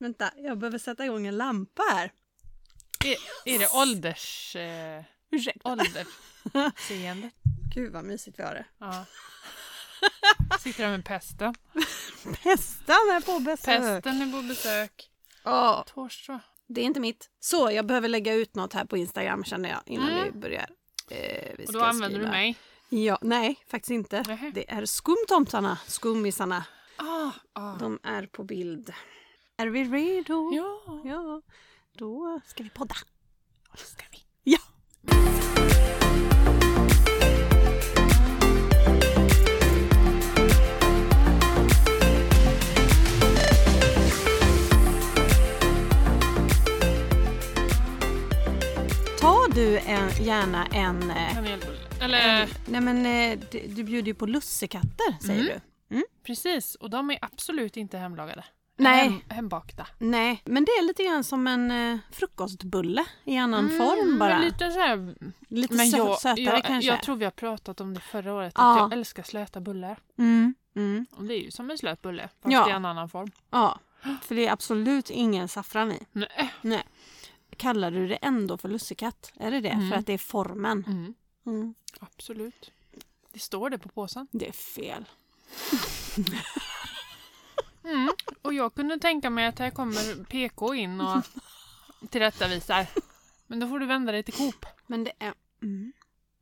Vänta, jag behöver sätta igång en lampa här. Är, är det ålders... Eh, Ursäkta. åldersseende? Gud vad mysigt vi har det. Ja. Sitter där med pesten. Pestan är på besök. Pesten är på besök. Ja, Torsdag. det är inte mitt. Så, jag behöver lägga ut något här på Instagram känner jag innan Mm. vi börjar. Eh, vi Och då ska använder skriva. du mig. Ja, nej, faktiskt inte. Nähä. Det är skumtomtarna, skummisarna. Ah, ah. De är på bild. Är vi redo? Ja. Ja, då ska vi podda. Ska vi? Ja. Tar du en, gärna en... eh, Kanelbulle. Eller... Nej men eh, du, du bjuder ju på lussekatter säger Mm. du. Precis, och de är absolut inte hemlagade. Nej. Hem, hembakta. Eh, Nej, men det är lite grann som en eh, frukostbulle i annan form Mm, bara. men Lite, Lite så här, sö- jag, sötare jag, kanske. jag tror vi har pratat om det förra året, Ja. att jag älskar slöta bullar. mm, mm. Och det är ju som en slöt bulle, fast Ja. i en annan form. Ja, för det är absolut ingen saffran i. Nej. Kallar du det ändå för lussekatt? Är det det? Mm. För att det är formen? Mm, Mm. absolut. Det står det på påsen. Det är fel. Mm. Och jag kunde tänka mig att här kommer PK in och tillrättavisar. Men då får du vända dig till Coop. Men det är... Mm.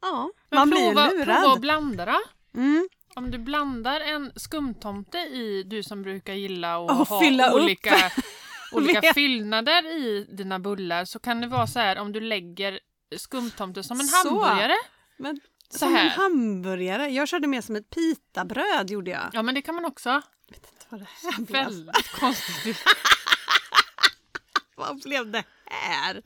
Ja, Men man prova, blir ju prova att lurad. blanda då. Mm. Om du blandar en skumtomte i, du som brukar gilla och, Och ha fylla upp. olika, olika Vet. fyllnader i dina bullar så kan det vara så här om du lägger skumtomte som en Så. hamburgare. Men Så som en här. hamburgare. Jag körde mer som ett pitabröd gjorde jag. Ja men det kan man också. Jag vet inte vad det här blev. Väldigt konstigt. Vad blev det här?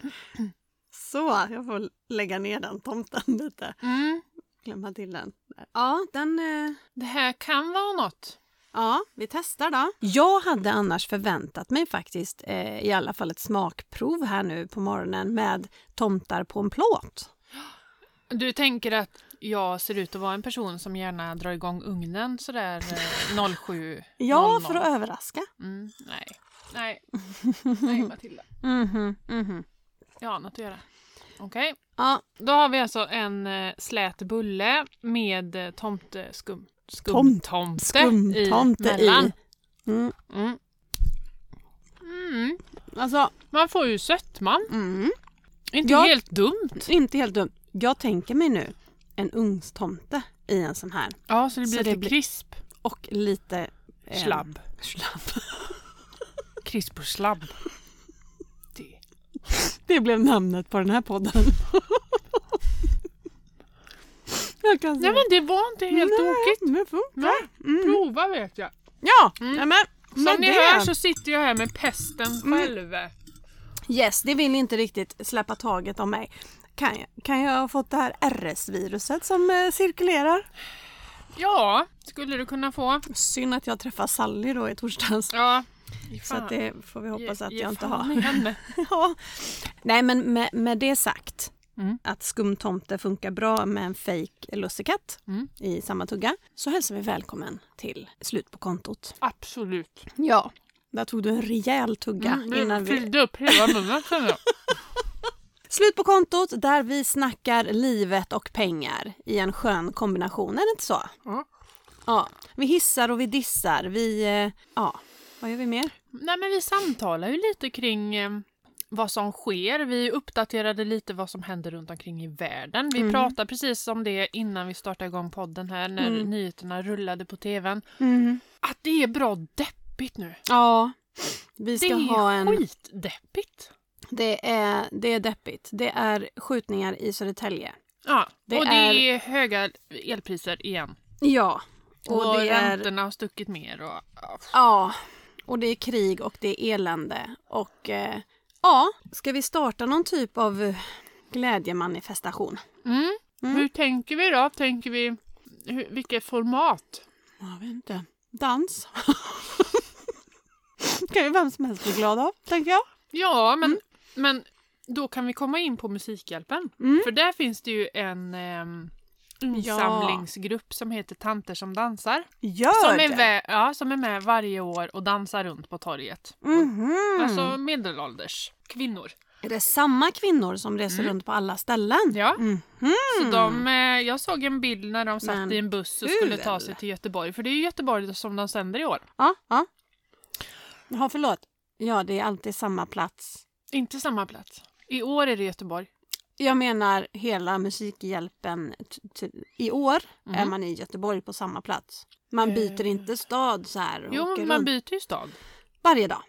Så, jag får lägga ner den tomten lite. Mm. Glömma till den. Ja, den... eh, Det här kan vara något. Ja, vi testar då. Jag hade annars förväntat mig faktiskt eh, i alla fall ett smakprov här nu på morgonen med tomtar på en plåt. Du tänker att jag ser ut att vara en person som gärna drar igång ugnen sådär eh, 07. Ja, 00. för att överraska. Mm, nej. Nej. Nej Matilda. Mhm, mhm. Jag har annat att göra. Okej. Ja, Då har vi alltså en eh, slät bulle med eh, tomteskum. Skum, Tom- tomte skumtomte i. mellan. Mm. Mm. Mm. Alltså, Man får ju sötman. mm, Inte Ja. helt dumt. inte helt dumt. Jag tänker mig nu en ugnstomte i en sån här. Ja, så det blir Så det lite blir- krisp. Och lite... eh, Slabb. Slabb. Krisp och slabb. Det. Det blev namnet på den här podden. jag kan Nej men det var inte helt Nej, tokigt. Det funkar. Nej, Mm. Prova vet jag. Ja, Mm. nej men. Som med ni det- hör så sitter jag här med pesten Mm. själv. Yes, det vill inte riktigt släppa taget om mig. Kan jag, kan jag ha fått det här RS-viruset som eh, cirkulerar? Ja, skulle du kunna få. Synd att jag träffar Sally då i torsdags. Ja. Ge Så att fan. det får vi hoppas Ge- att ge jag inte fan har. i henne. Ja. Nej men med, med det sagt. Mm. Att skumtomte funkar bra med en fejk lussekatt Mm. i samma tugga. Så hälsar vi välkommen till Slut på kontot. Absolut. Ja. Där tog du en rejäl tugga Mm, det innan vi fyllde upp hela munnen känner jag. Slut på kontot där vi snackar livet och pengar i en skön kombination, är det inte så? Ja. Ja, vi hissar och vi dissar. Vi, eh, ja, vad gör vi mer? Nej men vi samtalar ju lite kring eh, vad som sker. Vi uppdaterade lite vad som händer runt omkring i världen. Vi Mm. pratade precis om det innan vi startade igång podden här när Mm. nyheterna rullade på tvn. Att det är bra deppigt nu. Ja, vi Det ska är ha en... skitdeppigt. Det är, det är deppigt. Det är skjutningar i Södertälje. Ja, Det och det är- är... höga elpriser igen. Ja, Och, och det är... räntorna har stuckit mer. Och, ja. Ja, och det är krig och det är elände. Och eh, ja, ska vi starta någon typ av eh, glädjemanifestation? mm. Mm. Hur tänker vi då? Tänker vi... Hur, vilket format? Jag vet inte. Dans. kan ju vem som helst bli glad av, tänker jag. Ja, Mm. men, men då kan vi komma in på Musikhjälpen. Mm. För där finns det ju en, ehm, insamlingsgrupp som heter Tanter som dansar. Gör Som är, det? med, ja, som är med varje år och dansar runt på torget. Mhm. Alltså medelålders kvinnor. Är det samma kvinnor som reser Mm. runt på alla ställen? Ja. Mhm. Så de, eh, jag såg en bild när de satt Men i en buss och kul. skulle ta sig till Göteborg. För det är ju Göteborg som de sänder i år. Ja, ja. Ja, förlåt. Ja, det är alltid samma plats. Inte samma plats. I år är det Göteborg. Jag menar hela Musikhjälpen t- t- i år Mhm. är man i Göteborg på samma plats. Man byter Eh. inte stad så här och Jo, åker men man runt byter ju stad. varje dag.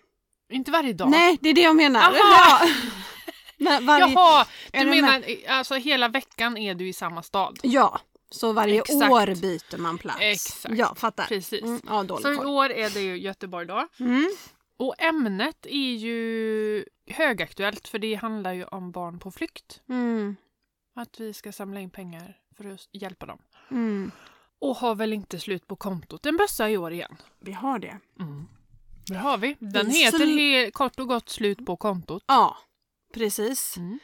Inte varje dag. Nej, det är det jag menar. Aha! Ja. Men varje... Jaha, är du du med? menar alltså hela veckan är du i samma stad? Ja, så varje Exakt. år byter man plats. Exakt. Ja, fattar. Precis. Mm, ja, dålig Så i koll. år är det ju Göteborg då. Mm. Och ämnet är ju högaktuellt för det handlar ju om barn på flykt. Mm. Att vi ska samla in pengar för att hjälpa dem. Mm. Och har väl inte slut på kontot en bössa i år igen. Vi har det. Det har vi. Den Mm. Vi heter sl- he- kort och gott slut på kontot. Ja, precis. Mm.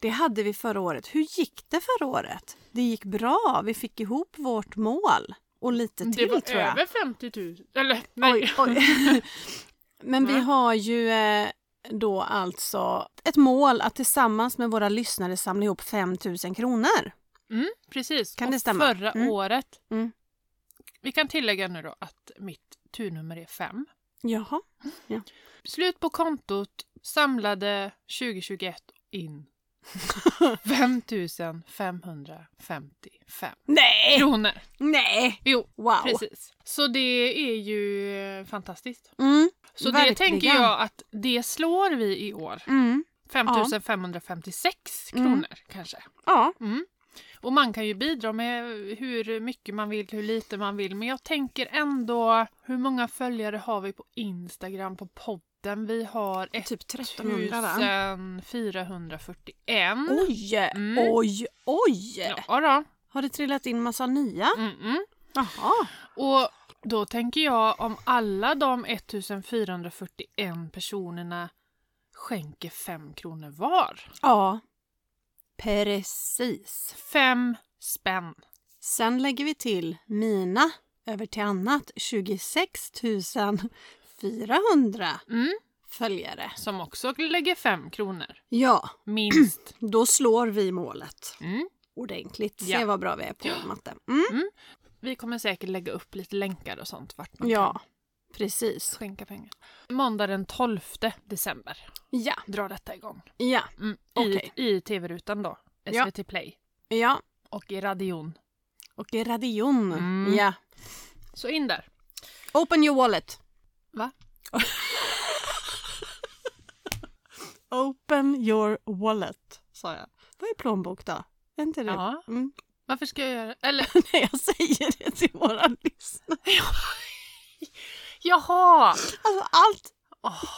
Det hade vi förra året. Hur gick det förra året? Det gick bra. Vi fick ihop vårt mål och lite till Det var tror jag. över 50 000. Eller nej. Oj, oj. Men vi Mm. har ju eh, då alltså ett mål att tillsammans med våra lyssnare samla ihop 5 000 kronor. Mm, precis. Kan och det stämma? förra Mm. året. Mm. Vi kan tillägga nu då att mitt turnummer är 5. Jaha. Slut på kontot samlade 2021 in 5 555 Nej! kronor. Nej! Jo, Wow. precis. Så det är ju eh, fantastiskt. Mm. Så det Verkligen. tänker jag att det slår vi i år. Mm. 5 Ja. 556 Mm. kronor kanske. Ja. Mm. Och man kan ju bidra med hur mycket man vill, hur lite man vill. Men jag tänker ändå, hur många följare har vi på Instagram, på podden? Vi har Typ 1300 va? 1441. Oj, Mm. oj, oj! Ja då. Har det trillat in massa nya? Mm -mm. Jaha. Och då tänker jag om alla de 1441 personerna skänker 5 kronor var. Ja. Precis. 5 spänn. Sen lägger vi till mina över till annat 26 400 Mm. följare. Som också lägger 5 kronor. Ja, Minst. då slår vi målet Mm. ordentligt. Se Ja. vad bra vi är på matte. Mm. Vi kommer säkert lägga upp lite länkar och sånt vart man Ja, kan precis. skänka pengar. Måndag den 12 december Ja, drar detta igång. ja, Mm, Okej. I, I tv-rutan då, Ja. SVT Play ja. och i radion. Och i radion. Mm. Ja. Så in där. Open your wallet. Va? Open your wallet, sa jag. Vad är plånbok då? Är inte det? Ja. Mm. Varför ska jag göra Eller Nej, jag säger det till våra lyssnare. jaha! Alltså allt. Åh.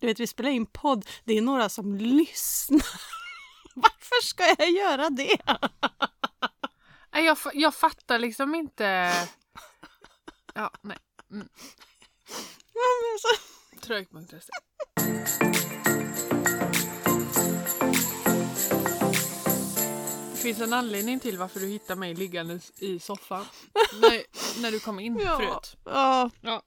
Du vet, vi spelar in podd. Det är några som lyssnar. Varför ska jag göra det? Nej, Jag, fa- jag fattar liksom inte. Ja, nej. Men alltså, så- Trög.se. Det finns en anledning till varför du hittar mig liggandes i soffan. när, när du kom in Ja. förut. Ja. Ja.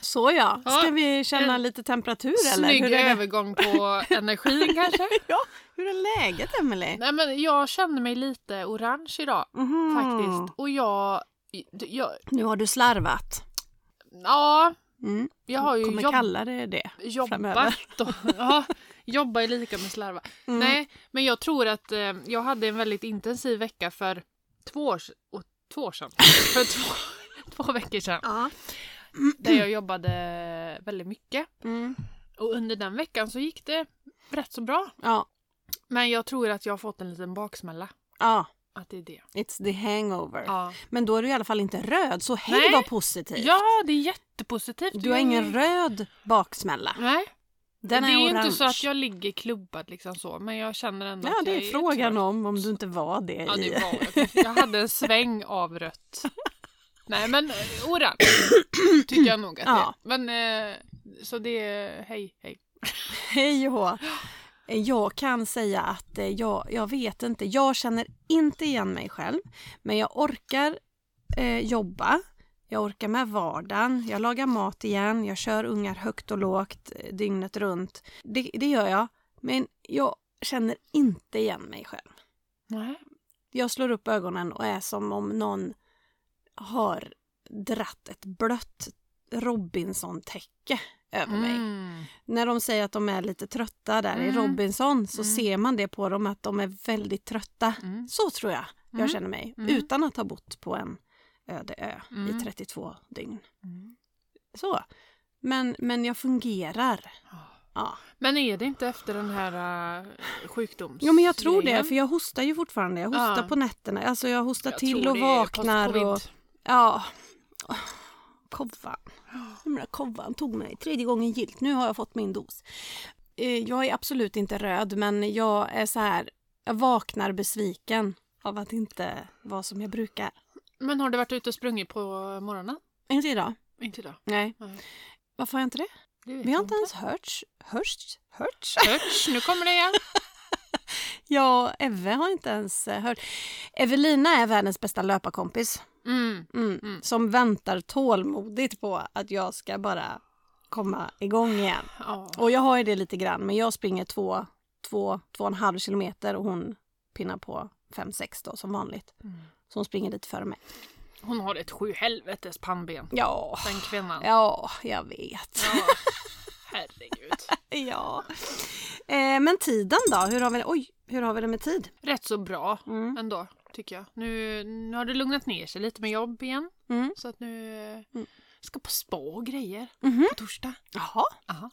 Så ja, ska Ja, vi känna en lite temperatur eller? Snygg Hur är, det? övergång på energin kanske. ja, hur är läget Emelie? Nej men jag kände mig lite orange idag Mhm. faktiskt. Och jag, jag... Nu har du slarvat. Ja, Mm. jag har ju Kommer jobb, kalla det det. framöver. jobbat. Och, ja, jobbar är lika med slarva. Mm. Nej, men jag tror att eh, jag hade en väldigt intensiv vecka för två år, s- och, två år sedan. För två, två veckor sedan. Ja. Där jag jobbade väldigt mycket. Mm. Och under den veckan så gick det rätt så bra. Ja. Men jag tror att jag har fått en liten baksmälla. ja, Att det är det. it's the hangover. Ja, Men då är du i alla fall inte röd, så hej Nej. vad positivt. ja det är jättepositivt. Du har ingen röd baksmälla. Nej, Den det är, är ju orange. inte så att jag ligger klubbad liksom så. Men jag känner ändå Ja, att det jag är frågan trött. om om du inte var det Ja, i... det var jag. Jag hade en sväng av rött. Nej, men eh, orange tycker jag nog att det Ja. är. Men eh, så det är hej, hej. Hej och hå. Eh, Jag kan säga att eh, jag, jag vet inte. Jag känner inte igen mig själv. Men jag orkar eh, jobba. Jag orkar med vardagen. Jag lagar mat igen. Jag kör ungar högt och lågt eh, dygnet runt. Det, det gör jag. Men jag känner inte igen mig själv. Nej. Jag slår upp ögonen och är som om någon har dratt ett blött Robinson-täcke över mig Mm. när de säger att de är lite trötta där i Mm. Robinson så Mm. ser man det på dem att de är väldigt trötta. Mm. Så tror jag Mm. jag känner mig Mm. utan att ha bott på en öde ö Mm. i 32 dygn. Mm. Så. Men, men jag fungerar. Ja. Men är det inte efter den här uh, sjukdoms... Jo men jag tror det grejen? för jag hostar ju fortfarande. Jag hostar Ja. på nätterna. Alltså jag hostar Jag till tror och det är vaknar. Och, post-covid. ja. Åh, Kovan. Den där kovan tog mig tredje gången gilt. Nu har jag fått min dos. Eh, Jag är absolut inte röd, men jag är så här... Jag vaknar besviken av att inte vara som jag brukar. Men har du varit ute och sprungit på morgonen? Inte idag. Inte idag. Nej. Nej. Varför har jag inte det? Det vet Vi har jag inte ens hörts. Hörts? Hörts? Hörts, nu kommer det igen. Jag och Eve har inte ens eh, hört. Evelina är världens bästa löparkompis. Mm. Mm. Mm. Som väntar tålmodigt på att jag ska bara komma igång igen. Ja. Och jag har ju det lite grann, men jag springer två, två, två och en halv kilometer och hon pinnar på fem, sex då som vanligt. Mm. Så hon springer lite före mig. Hon har ett sjuhelvetes pannben, Ja, den kvinnan. ja, jag vet. Ja. Herregud. Ja. Eh, men tiden då? Hur har vi det? Oj, hur har vi det med tid? Rätt så bra Mm. ändå, tycker jag. Nu, nu har det lugnat ner sig lite med jobb igen. Mm. Så att nu eh, Mm. ska på spa och grejer Mhm. på torsdag. Jaha. Aha.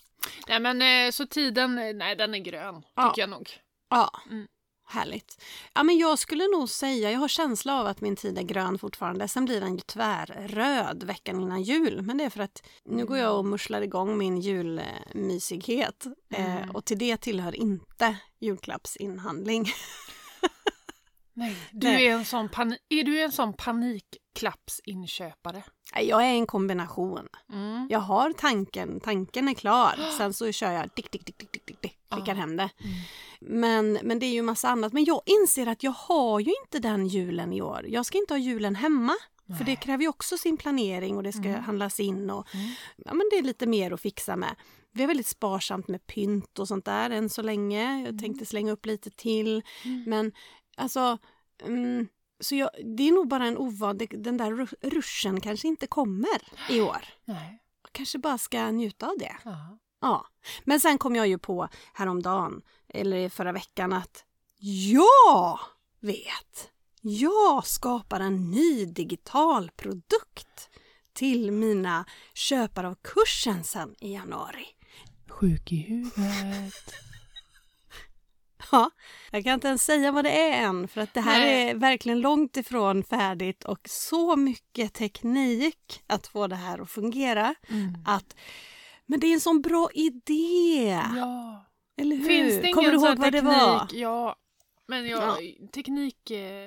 Nej men eh, så tiden, eh, nej den är grön Ja. tycker jag nog. Ja. Mm. Härligt. Ja, men jag skulle nog säga, jag har känsla av att min tid är grön fortfarande. Sen blir den ju tvärröd veckan innan jul. Men det är för att nu går jag och musslar igång min julmysighet. Eh, Mm. och till det tillhör inte julklappsinhandling. Nej, du Nej. Är, en sån pani- är du en sån panikklappsinköpare? Nej, Jag är en kombination. Mm. Jag har tanken, tanken är klar. Sen så kör jag dick, dick, dick, dick, dick, dick, dick skickar Ah. hem det. Men, men det är ju massa annat. Men jag inser att jag har ju inte den julen i år. Jag ska inte ha julen hemma. För det Nej. kräver ju också sin planering och det ska Mm. handlas in och Mm. ja, men det är lite mer att fixa med. Vi är väldigt sparsamt med pynt och sånt där än så länge. Jag tänkte slänga upp lite till. Mm. Men alltså, mm, så jag, det är nog bara en ovan, det- den där ru- ruschen kanske inte kommer i år. Nej. Jag kanske bara ska njuta av det. Ja. Ja. Men sen kom jag ju på häromdagen, eller i förra veckan, att jag vet! Jag skapar en ny digital produkt till mina köpare av kursen sen i januari. Sjuk i huvudet. Ja, jag kan inte ens säga vad det är än för att det här Nej. är verkligen långt ifrån färdigt och så mycket teknik att få det här att fungera Mm. att men det är en sån bra idé! Ja. Eller hur? Finns det ingen Kommer du sån ihåg vad teknik? det var? Ja. Men jag eh, ja.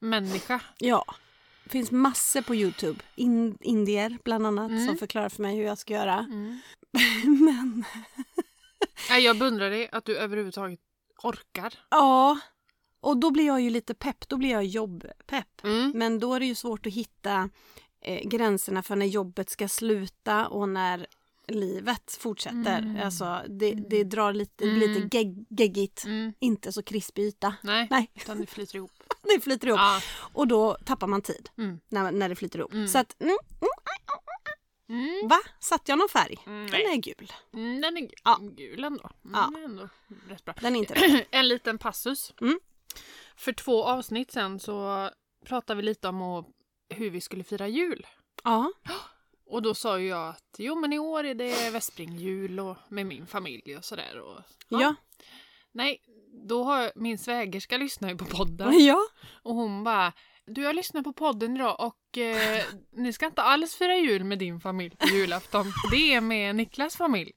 teknikmänniska. Ja. Det finns massor på Youtube. In, indier bland annat Mm. som förklarar för mig hur jag ska göra. Mm. Men Nej, jag beundrar dig att du överhuvudtaget orkar. ja, och då blir jag ju lite pepp. Då blir jag jobbpepp. Mm. Men då är det ju svårt att hitta eh, gränserna för när jobbet ska sluta och när livet fortsätter. Mm. Alltså det, det drar lite, det blir lite gegg, geggigt. Mm. Inte så krispig yta. Nej, Nej, utan det flyter ihop. det flyter ihop. Ja. Och då tappar man tid Mm. när, när det flyter ihop. Mm. Så att, mm, Mm. va? Satt jag någon färg? Mm, Den Nej, är gul. Mm, den är gu- Ja. gul ändå. Mm, Ja. Den är ändå rätt bra. Den är inte en liten passus. Mm. För två avsnitt sen så pratade vi lite om att- hur vi skulle fira jul. Ja. Och då sa ju jag att jo men i år är det västspringjul och med min familj och sådär. Och... Ja. Nej, då har jag, min svägerska lyssnar ju på podden. Ja. Och hon bara, du jag lyssnar på podden idag och eh, ni ska inte alls fira jul med din familj på julafton. Det är med Niklas familj.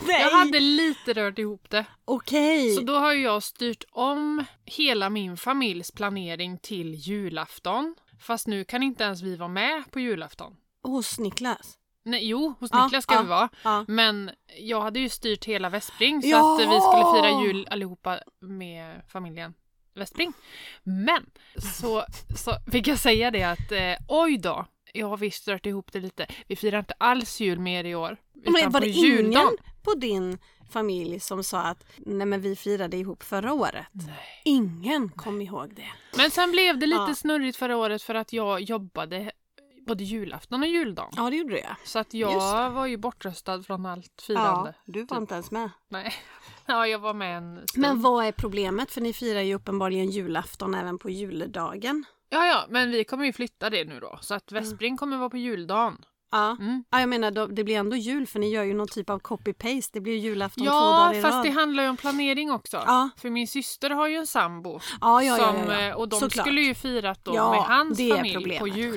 Nej. Jag hade lite rört ihop det. Okej. Så då har ju jag styrt om hela min familjs planering till julafton. Fast nu kan inte ens vi vara med på julafton. Hos Niklas? Nej, jo, hos Ja, Niklas ska ja. vi vara. Ja. Men jag hade ju styrt hela Västspring så Ja! att vi skulle fira jul allihopa med familjen Västspring. Men så, så fick jag säga det att eh, oj då, jag har visst rört ihop det lite. Vi firar inte alls jul med er i år. Men utan var på det ingen på din familj som sa att nej men vi firade ihop förra året? Nej. Ingen kom ihåg det. Men sen blev det lite Ja. snurrigt förra året för att jag jobbade både julafton och juldagen. Ja det gjorde jag. Så att Just jag var ju bortröstad från allt firande. typ. du var inte ens med. Nej. Ja, jag var med en stund. Men vad är problemet? För ni firar ju uppenbarligen julafton även på juldagen. Ja, ja, men vi kommer ju flytta det nu då. Så att Västspring kommer vara på juldagen. Ja. Mm. ja, jag menar då- det blir ändå jul för ni gör ju någon typ av copy-paste. Det blir ju julafton två Ja, dagar i fast rad. det handlar ju om planering också. Ja. För min syster har ju en sambo. Ja, ja, ja, som, ja, ja. eh, Och de Såklart. skulle ju firat då Ja, med hans det är familj på problemet, juldagen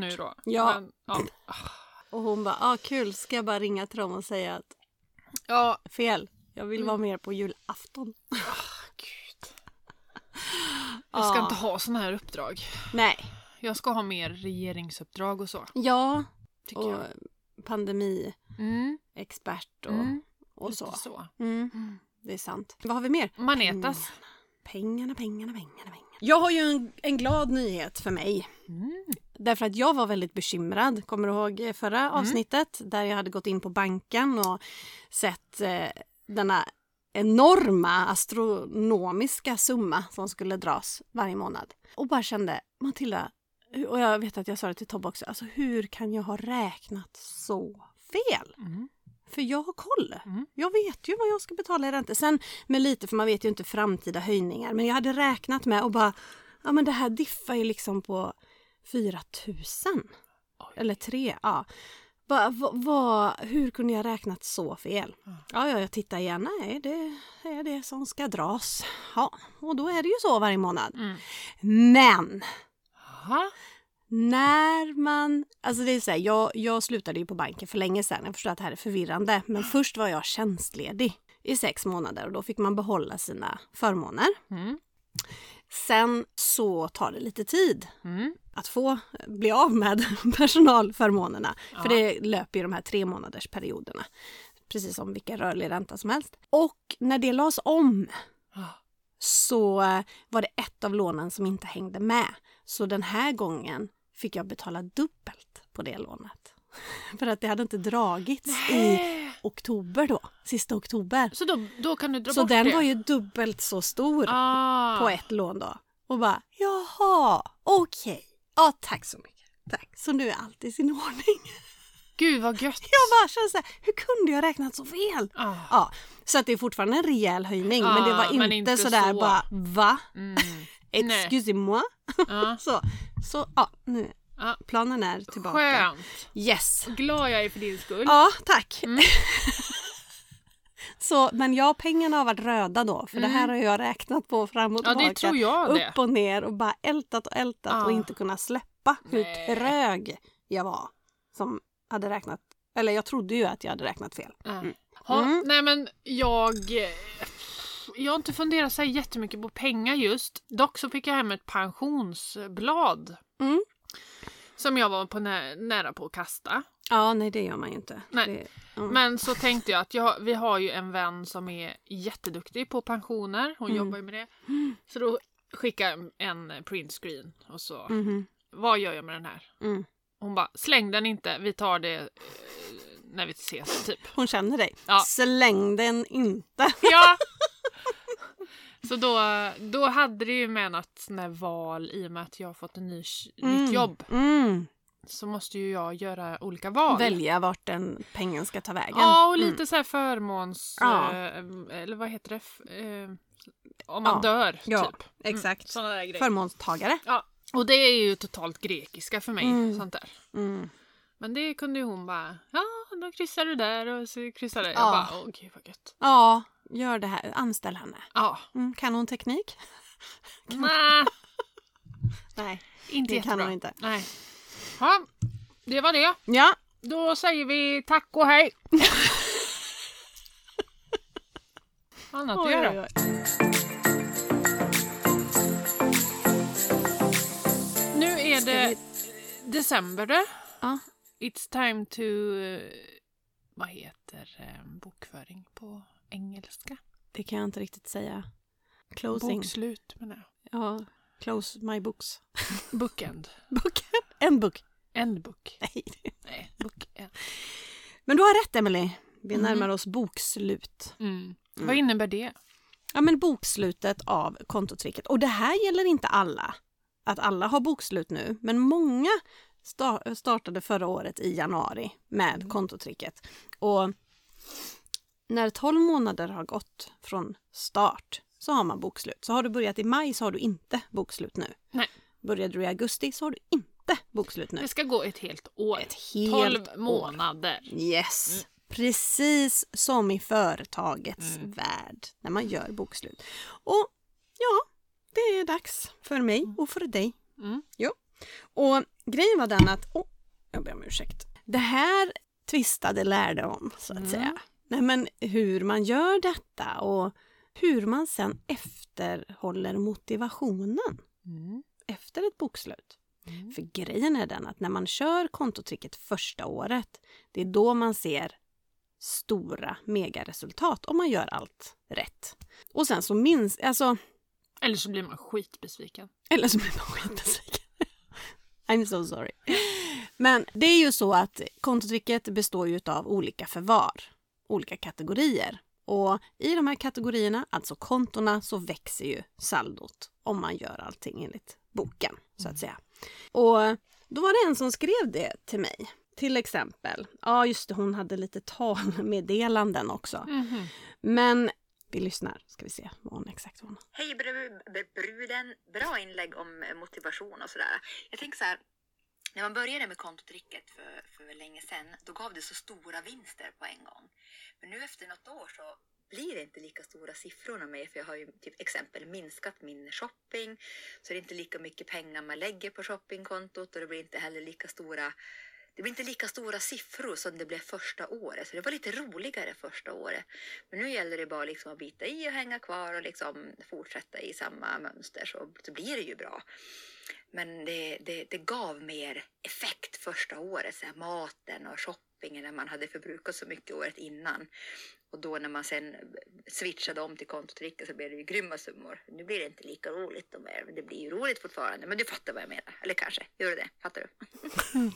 självklart. nu då. Ja. Men, ja. Och hon bara, ah, kul, ska jag bara ringa till dem och säga att ja, fel, jag Mm. vill vara med er på julafton. gud. Jag ska inte ha såna här uppdrag. Nej. Jag ska ha mer regeringsuppdrag och så. Ja, Tycker och jag. pandemiexpert Mm, och, mm, och lite så. så. Mm, Mm. det är sant. Vad har vi mer? Manetas. Pengarna, pengarna, pengarna, pengarna. Jag har ju en, en glad nyhet för mig. Mm. Därför att jag var väldigt bekymrad. Kommer du ihåg eh, förra avsnittet där jag hade gått in på banken och sett eh, denna enorma astronomiska summa som skulle dras varje månad. Och bara kände, Matilda, hu- och jag vet att jag sa det till Tobbe också, alltså hur kan jag ha räknat så fel? Mm. För jag har koll. Mm. Jag vet ju vad jag ska betala i ränta. Sen med lite, för man vet ju inte framtida höjningar. Men jag hade räknat med och bara, ja men det här diffar ju liksom på 4 000. Oj. Eller 3, ja. Bara, va, va, hur kunde jag räknat så fel? Ja. Ja, ja, jag tittar igen. Nej, det är det som ska dras. Ja, och då är det ju så varje månad. Mm. Men Aha. när man... Alltså det är så här, jag, jag slutade ju på banken för länge sedan. Jag förstår att det här är förvirrande. Men först var jag tjänstledig i sex månader och då fick man behålla sina förmåner. Mm. Sen så tar det lite tid Mm. att få bli av med personalförmånerna. För Ja. det löper ju de här tre månaders perioderna. Precis som vilken rörlig ränta som helst. Och när det lades om Ah. så eh, var det ett av lånen som inte hängde med. Så den här gången fick jag betala dubbelt på det lånet. För att det hade inte dragits i oktober då, sista oktober. Så då, då kan du dra Så bort den det? var ju dubbelt så stor ah. på ett lån då. Och bara, jaha, okej. Ja, tack så mycket. Tack. Så nu är allt i sin ordning. Gud vad gött! Jag bara känner så här, hur kunde jag räknat så fel? Ah. Ja, så att det är fortfarande en rejäl höjning. men det Ah, var men inte, inte sådär så. bara, va? Mm. Excusez-moi. Ah. Så, Alltså, så ja, nu. Ja. Planen är tillbaka. Skönt! Yes. Glad jag är för din skull. Ja, tack. Mm. Så, men jag pengarna har varit röda då, för det här har jag räknat på fram och Mm. Ja, tillbaka. det tror jag det. Upp och ner och bara ältat och ältat Ja. och inte kunnat släppa Nej. hur trög jag var som hade räknat. Eller jag trodde ju att jag hade räknat fel. Ah. Mm. Ha, Mm. Nej men jag... Jag har inte funderat så här jättemycket på pengar just. Dock så fick jag hem ett pensionsblad. Mm. Som jag var på nä- nära på att kasta. Ja, nej det gör man ju inte. Nej. Det, mm. Men så tänkte jag att jag, vi har ju en vän som är jätteduktig på pensioner. Hon Mm. jobbar ju med det. Så då skickade jag en printscreen och så. Mhm. Vad gör jag med den här? Mm. Hon bara, släng den inte. Vi tar det eh, när vi ses typ. Hon känner dig. Ja. Släng den inte. Ja! Så då, då hade det ju med något sånt där val i och med att jag har fått en ny, Mm. nytt jobb. Mm. Så måste ju jag göra olika val. Välja vart den pengen ska ta vägen. Ja, och Mm. lite så här förmåns... Ja. Eh, eller vad heter det? F- Eh, om man Ja. dör, Ja, typ. exakt. Sådana där grejer. Förmånstagare. Ja. Och det är ju totalt grekiska för mig. Mm. Sånt där. Mm. Men det kunde ju hon bara, ja, då kryssar du där och så kryssar du. Jag Ja. bara, åh gud vad gött. Ja, gör det här. Anställ henne. Ja, Mm. Kan hon teknik? nej, Nej, inte det kan jättebra. hon inte. Nej. Ja, det var det. Ja, Då säger vi tack och hej. Annat att Oj, göra. oj, oj. Nu är Ska det vi- december du. Ja. It's time to... eh, Vad heter eh, bokföring på engelska? Det kan jag inte riktigt säga. Closing. Bokslut menar jag. Ja, close my books. Bookend. Book. En book. Endbook. Nej. Nej, bookend. Men du har rätt Emily. Vi Mm. närmar oss bokslut. Mm. Vad innebär det? Ja, men bokslutet av kontotricket. Och det här gäller inte alla, att alla har bokslut nu, men många sta- startade förra året i januari med kontotricket. Och när 12 månader har gått från start så har man bokslut. Så har du börjat i maj så har du inte bokslut nu. Nej. Började du i augusti så har du inte bokslut nu. Det ska gå ett helt år. Ett helt 12 år. månader. Yes. Mm. Precis som i företagets Mm. värld när man gör bokslut. Och ja, det är dags för mig och för dig. Mm. Ja. Och grejen var den att, oh, jag ber om ursäkt. Det här tvistade lärde om så att Mm. säga. Nej men hur man gör detta och hur man sen efterhåller motivationen Mm. efter ett bokslut. Mm. För grejen är den att när man kör kontotricket första året, det är då man ser stora megaresultat om man gör allt rätt. Och sen så minns, alltså, Eller så blir man skitbesviken. eller så blir man skitbesviken. I'm so sorry. Men det är ju så att kontotricket består ju av olika förvar, olika kategorier. Och i de här kategorierna, alltså kontona, så växer ju saldot om man gör allting enligt boken, så att säga. Och då var det en som skrev det till mig. Till exempel, ja just det, hon hade lite talmeddelanden också. Mhm. Men vi lyssnar, ska vi se vad hon exakt var. Hej bru- bru- bruden! Bra inlägg om eh, motivation och sådär. Jag tänker så här. När man började med kontotricket för, för länge sedan, då gav det så stora vinster på en gång. Men nu efter något år så blir det inte lika stora siffror av mig, för jag har ju typ exempel minskat min shopping, så det är inte lika mycket pengar man lägger på shoppingkontot och det blir inte heller lika stora det blir inte lika stora siffror som det blev första året, så det var lite roligare första året. Men nu gäller det bara liksom att bita i och hänga kvar och liksom fortsätta i samma mönster så, så blir det ju bra. Men det, det, det gav mer effekt första året, så här maten och shoppingen när man hade förbrukat så mycket året innan. Och då när man sen switchade om till kontotricket så blev det ju grymma summor. Nu blir det inte lika roligt och mer, men det blir ju roligt fortfarande. Men du fattar vad jag menar, eller kanske, gör du det? Fattar du? Ja,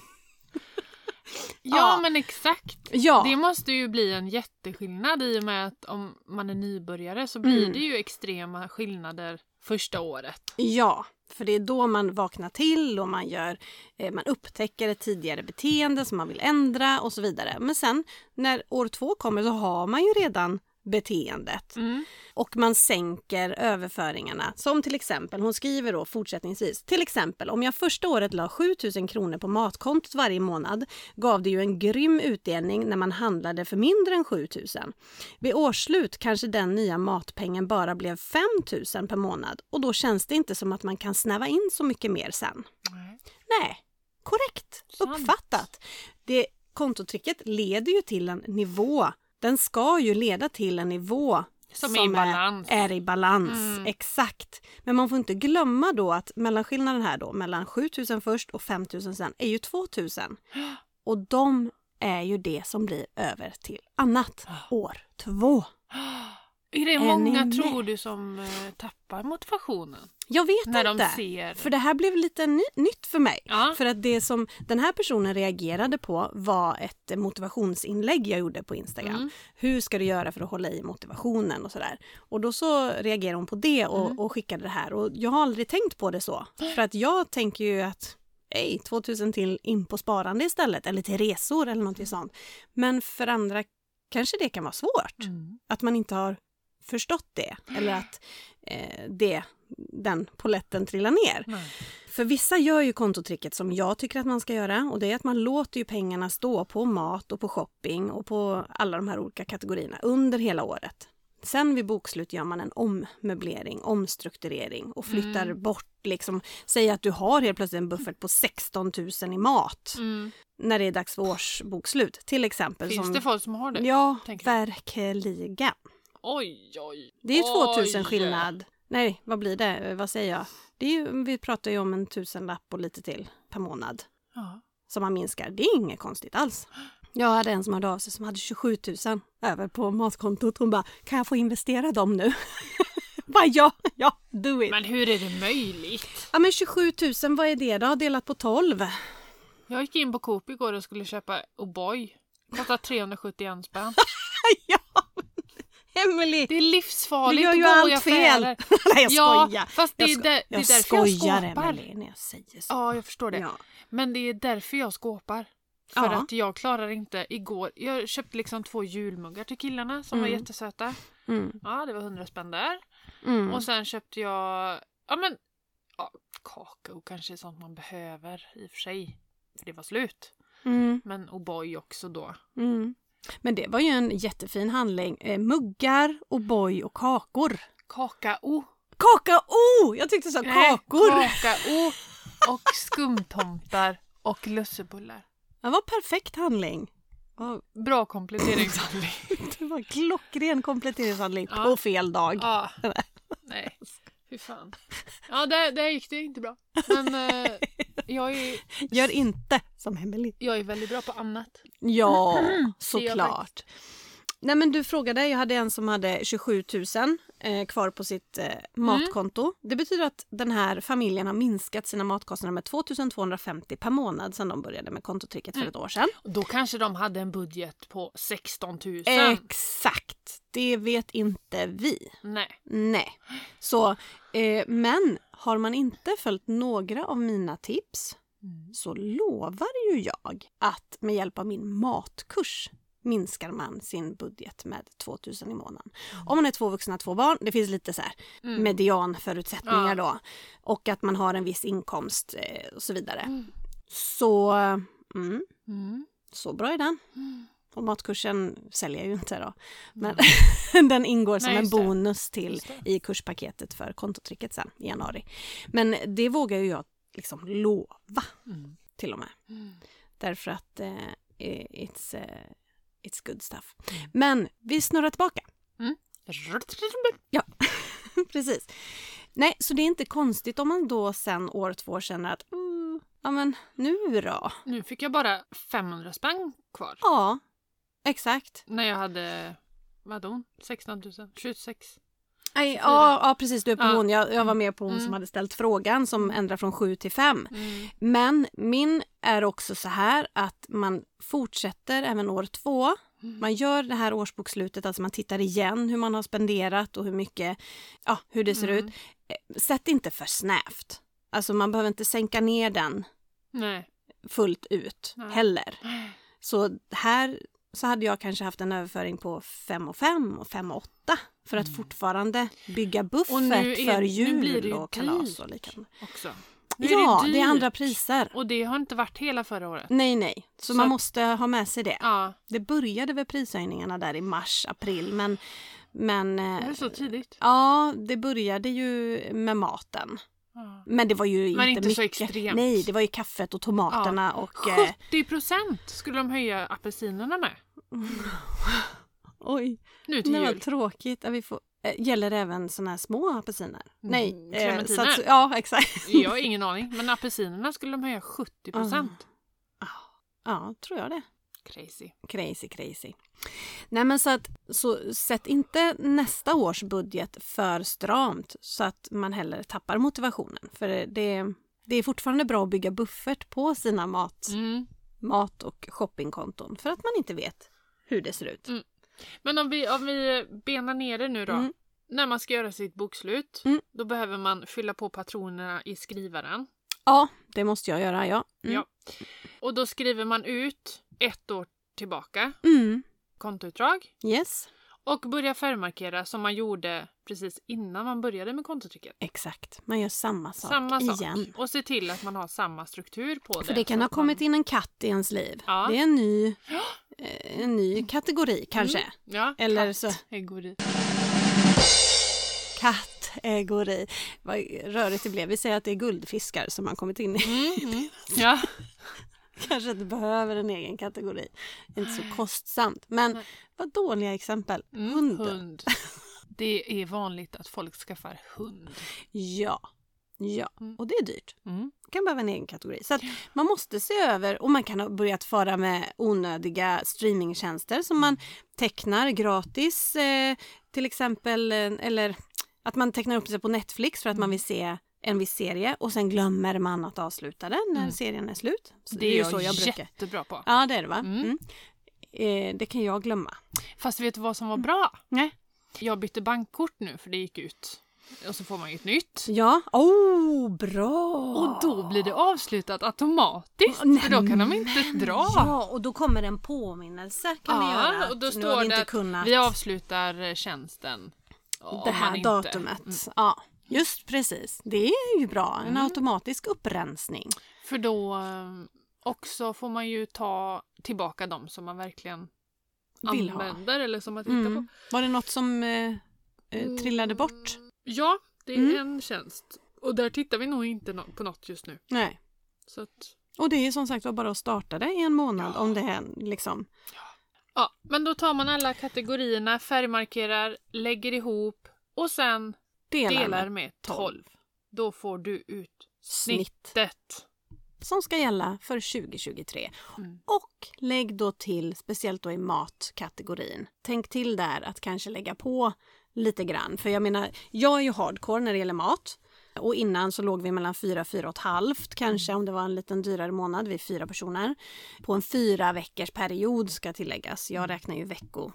Ja. men exakt. Ja, Det måste ju bli en jätteskillnad i och med att om man är nybörjare så blir Mm. det ju extrema skillnader första året. Ja, för det är då man vaknar till och man, gör, eh, man upptäcker ett tidigare beteende som man vill ändra och så vidare. Men sen när år två kommer så har man ju redan beteendet Mm. och man sänker överföringarna. Som till exempel, hon skriver då fortsättningsvis, till exempel om jag första året la 7000 kronor på matkontot varje månad gav det ju en grym utdelning när man handlade för mindre än 7000. Vid årsslut kanske den nya matpengen bara blev 5000 per månad och då känns det inte som att man kan snäva in så mycket mer sen. Nej, korrekt Sant. uppfattat. Det kontotricket leder ju till en nivå. Den ska ju leda till en nivå Som är i balans. Är i balans. Mm. Exakt. Men man får inte glömma då att mellanskillnaden här då mellan 7000 först och 5000 sen är ju 2000. Och de är ju det som blir över till annat Ah. år två. Är det ni många med? tror du som eh, tappar motivationen? Jag vet När de inte. ser- För det här blev lite ny- nytt för mig. Ja. För att det som den här personen reagerade på var ett eh, motivationsinlägg jag gjorde på Instagram. Mm. Hur ska du göra för att hålla i motivationen och sådär. Och då så reagerade hon på det och, Mm. och skickade det här. Och jag har aldrig tänkt på det så. För att jag tänker ju att Hej, 2000 till in på sparande istället eller till resor eller någonting sånt. Men för andra kanske det kan vara svårt Mm. att man inte har förstått det eller att eh, det, den poletten trillar ner. Nej. För vissa gör ju kontotricket som jag tycker att man ska göra och det är att man låter ju pengarna stå på mat och på shopping och på alla de här olika kategorierna under hela året. Sen vid bokslut gör man en ommöblering, omstrukturering och flyttar Mm. bort liksom, säg att du har helt plötsligt en buffert på 16 000 i mat Mm. när det är dags för årsbokslut till exempel. Finns som, det folk som har det? Ja, tänker jag. verkligen. Oj, oj. Det är ju 2000 oj. skillnad. Nej, vad blir det? Eh, Vad säger jag? Det är ju, vi pratar ju om en tusenlapp och lite till per månad. Ja. som man minskar. Det är inget konstigt alls. Jag hade en som hörde av sig som hade 27 000 över på matkontot. Hon bara, kan jag få investera dem nu? bara ja, ja, do it. Men hur är det möjligt? Ja men 27 000, vad är det då? Delat på 12? Jag gick in på Coop igår och skulle köpa O'boy. Kostar 371 spänn. ja, Emily! Det är livsfarligt Du gör ju att gå i allt fel. affärer. Nej jag Ja, skojar. fast det är, jag sko- där, det är jag därför jag skojar skåpar. Emily när jag säger så. Ja, jag förstår det. Ja. Men det är därför jag skåpar. För Ja. att jag klarar inte igår. Jag köpte liksom två julmuggar till killarna som var Mm. jättesöta. Mm, Ja, det var 100 spänn där. mm. Och sen köpte jag, ja men, ja, kakao kanske är sånt man behöver i och för sig. För det var slut. Mm, Men O'boy också då. mm. Men det var ju en jättefin handling. Eh, muggar, O'boy och kakor. Kakao. Kakao! Jag tyckte så Nej, kakor. Kakao och skumtomtar och lussebullar. Det var perfekt handling. Och Bra kompletteringshandling. Det var klockren kompletteringshandling Ja. på fel dag. Ja. Nej. Fy fan. Ja, där, där gick det inte bra. Men eh, jag, är, Gör inte som Emelie. jag är väldigt bra på annat. Ja, Det gör jag såklart. Nej men du frågade, jag hade en som hade 27 000 eh, kvar på sitt eh, Mm. matkonto. Det betyder att den här familjen har minskat sina matkostnader med 2 250 per månad sedan de började med kontotricket Mm. för ett år sedan. Och Då kanske de hade en budget på 16 000. Eh. Exakt! Det vet inte vi. Nej. Nej. Så, eh, men har man inte följt några av mina tips Mm. så lovar ju jag att med hjälp av min matkurs minskar man sin budget med 2000 i månaden. Om man är två vuxna, två barn, det finns lite så här Mm. medianförutsättningar Ja. då och att man har en viss inkomst eh, och så vidare. Mm. Så, mm, Mm. så bra är den. Mm. Och matkursen säljer jag ju inte då. Men den ingår som Mm. Nej, en just det. bonus till Just det. i kurspaketet för kontotricket sen i januari. Men det vågar ju jag liksom lova Mm. till och med. Mm. Därför att eh, it's, eh, it's good stuff. Mm. Men vi snurrar tillbaka. Ja, precis. Nej, så det är inte konstigt om man då sen år två känner att mm, ja men nu då? Nu fick jag bara 500 spänn kvar. Ja, exakt. När jag hade, vad hade hon? 16 000? 26? Nej, ja, ja, precis. Du är på Ja. hon. Jag, jag var med på hon som Mm. hade ställt frågan som ändrar från sju till fem. Mm. Men min är också så här att man fortsätter även år två. Mm. Man gör det här årsbokslutet, alltså man tittar igen hur man har spenderat och hur mycket, ja, hur det ser Mm. ut. Eh, Sätt inte för snävt. Alltså man behöver inte sänka ner den Nej. fullt ut Nej. heller. Så här så hade jag kanske haft en överföring på 5 och 5 och 5 och 8 för att fortfarande bygga Mm. Och nu buffert för är- nu blir jul det ju och kalas och dyrt. liknande. Också. Nu Ja, det är dyrt. andra priser. Och det har inte varit hela förra året. Nej, nej. Så, Så man att- måste ha med sig det. Ja, Det började väl prishöjningarna där i mars, april, men... men det eh, är så tidigt. ja, det började ju med maten. Ja. Men det var ju inte, Men inte så mycket. extremt. Nej, det var ju kaffet och tomaterna och... Eh, 70 procent skulle de höja apelsinerna med. oj, Nu till det var jul. tråkigt. Att vi får, eh, gäller även såna här små apelsiner? Nej, eh, så att, clementiner. ja exakt. Mm, Jag har ingen aning. Men apelsinerna skulle de höja 70 procent. Ah. Ja, tror jag det. Crazy. Crazy, crazy. Nej men så att, så sätt inte nästa års budget för stramt så att man heller tappar motivationen. För det, det är fortfarande bra att bygga buffert på sina mat, Mm. mat och shoppingkonton för att man inte vet hur det ser ut. Mm. Men om vi, om vi benar ner det nu då. Mm. När man ska göra sitt bokslut, Mm. då behöver man fylla på patronerna i skrivaren. Ja, det måste jag göra, ja. Mm. Ja. Och då skriver man ut ett år tillbaka, Mm. kontoutdrag. Yes, Och börjar färgmarkera som man gjorde precis innan man började med kontotricket. exakt. Man gör samma sak Samma sak. igen. Och se till att man har samma struktur på det. För det kan så ha att kommit man... in en katt i ens liv. Ja. Det är en ny, eh, en ny kategori kanske. Ja, Eller katt så- är god i. Katt, eh, går i. Vad rörigt det blev. Vi säger att det är guldfiskar som har kommit in i. Mm, mm. Ja. Kanske inte behöver en egen kategori. Inte så kostsamt. Men vad dåliga exempel. Mm, Hunden. hund. Det är vanligt att folk skaffar hund. Ja. Ja, Mm. och det är dyrt. Mm. kan behöva en egen kategori. Så att man måste se över och man kan ha börjat föra med onödiga streamingtjänster som man tecknar gratis eh, till exempel eh, eller att man tecknar upp sig på Netflix för att man vill se en viss serie och sen glömmer man att avsluta den när Mm. serien är slut. Så Det är ju jag, jättebra på. Ja, det är det va? Mm. Mm. Eh, det kan jag glömma. Fast vet du vad som Mm. var bra? Nej. Jag bytte bankkort nu för det gick ut. Och så får man ju ett nytt. Ja, oh, bra! Och då blir det avslutat automatiskt. Nej, för då kan de inte dra. Ja, och då kommer en påminnelse kan det Ja, göra. att och då nu står har vi det inte att kunnat... Vi avslutar eh, tjänsten. Om det man här inte- Mm. datumet. Ja, just precis. Det är ju bra. En automatisk upprensning. För då eh, också får man ju ta tillbaka de som man verkligen Vill ha. använder eller som man tittar på. Mm. Mm. Var det något som eh, eh, trillade bort? Ja, det är Mm. en tjänst. Och där tittar vi nog inte no- på något just nu. Nej. Så att, Och det är som sagt var bara att starta det i en månad om det är liksom. ja. Men då tar man alla kategorierna, färgmarkerar, lägger ihop och sen Delar, delar med med 12. tolv. Då får du ut snitt snittet. som ska gälla för 2023. Mm. Och lägg då till, speciellt då i matkategorin, tänk till där att kanske lägga på lite grann. För jag menar, jag är ju hardcore när det gäller mat. Och innan så låg vi mellan 4 fyra och ett halvt Mm. kanske om det var en liten dyrare månad, vi är fyra personer. På en fyra veckors period ska tilläggas. Mm. Jag räknar ju vecko,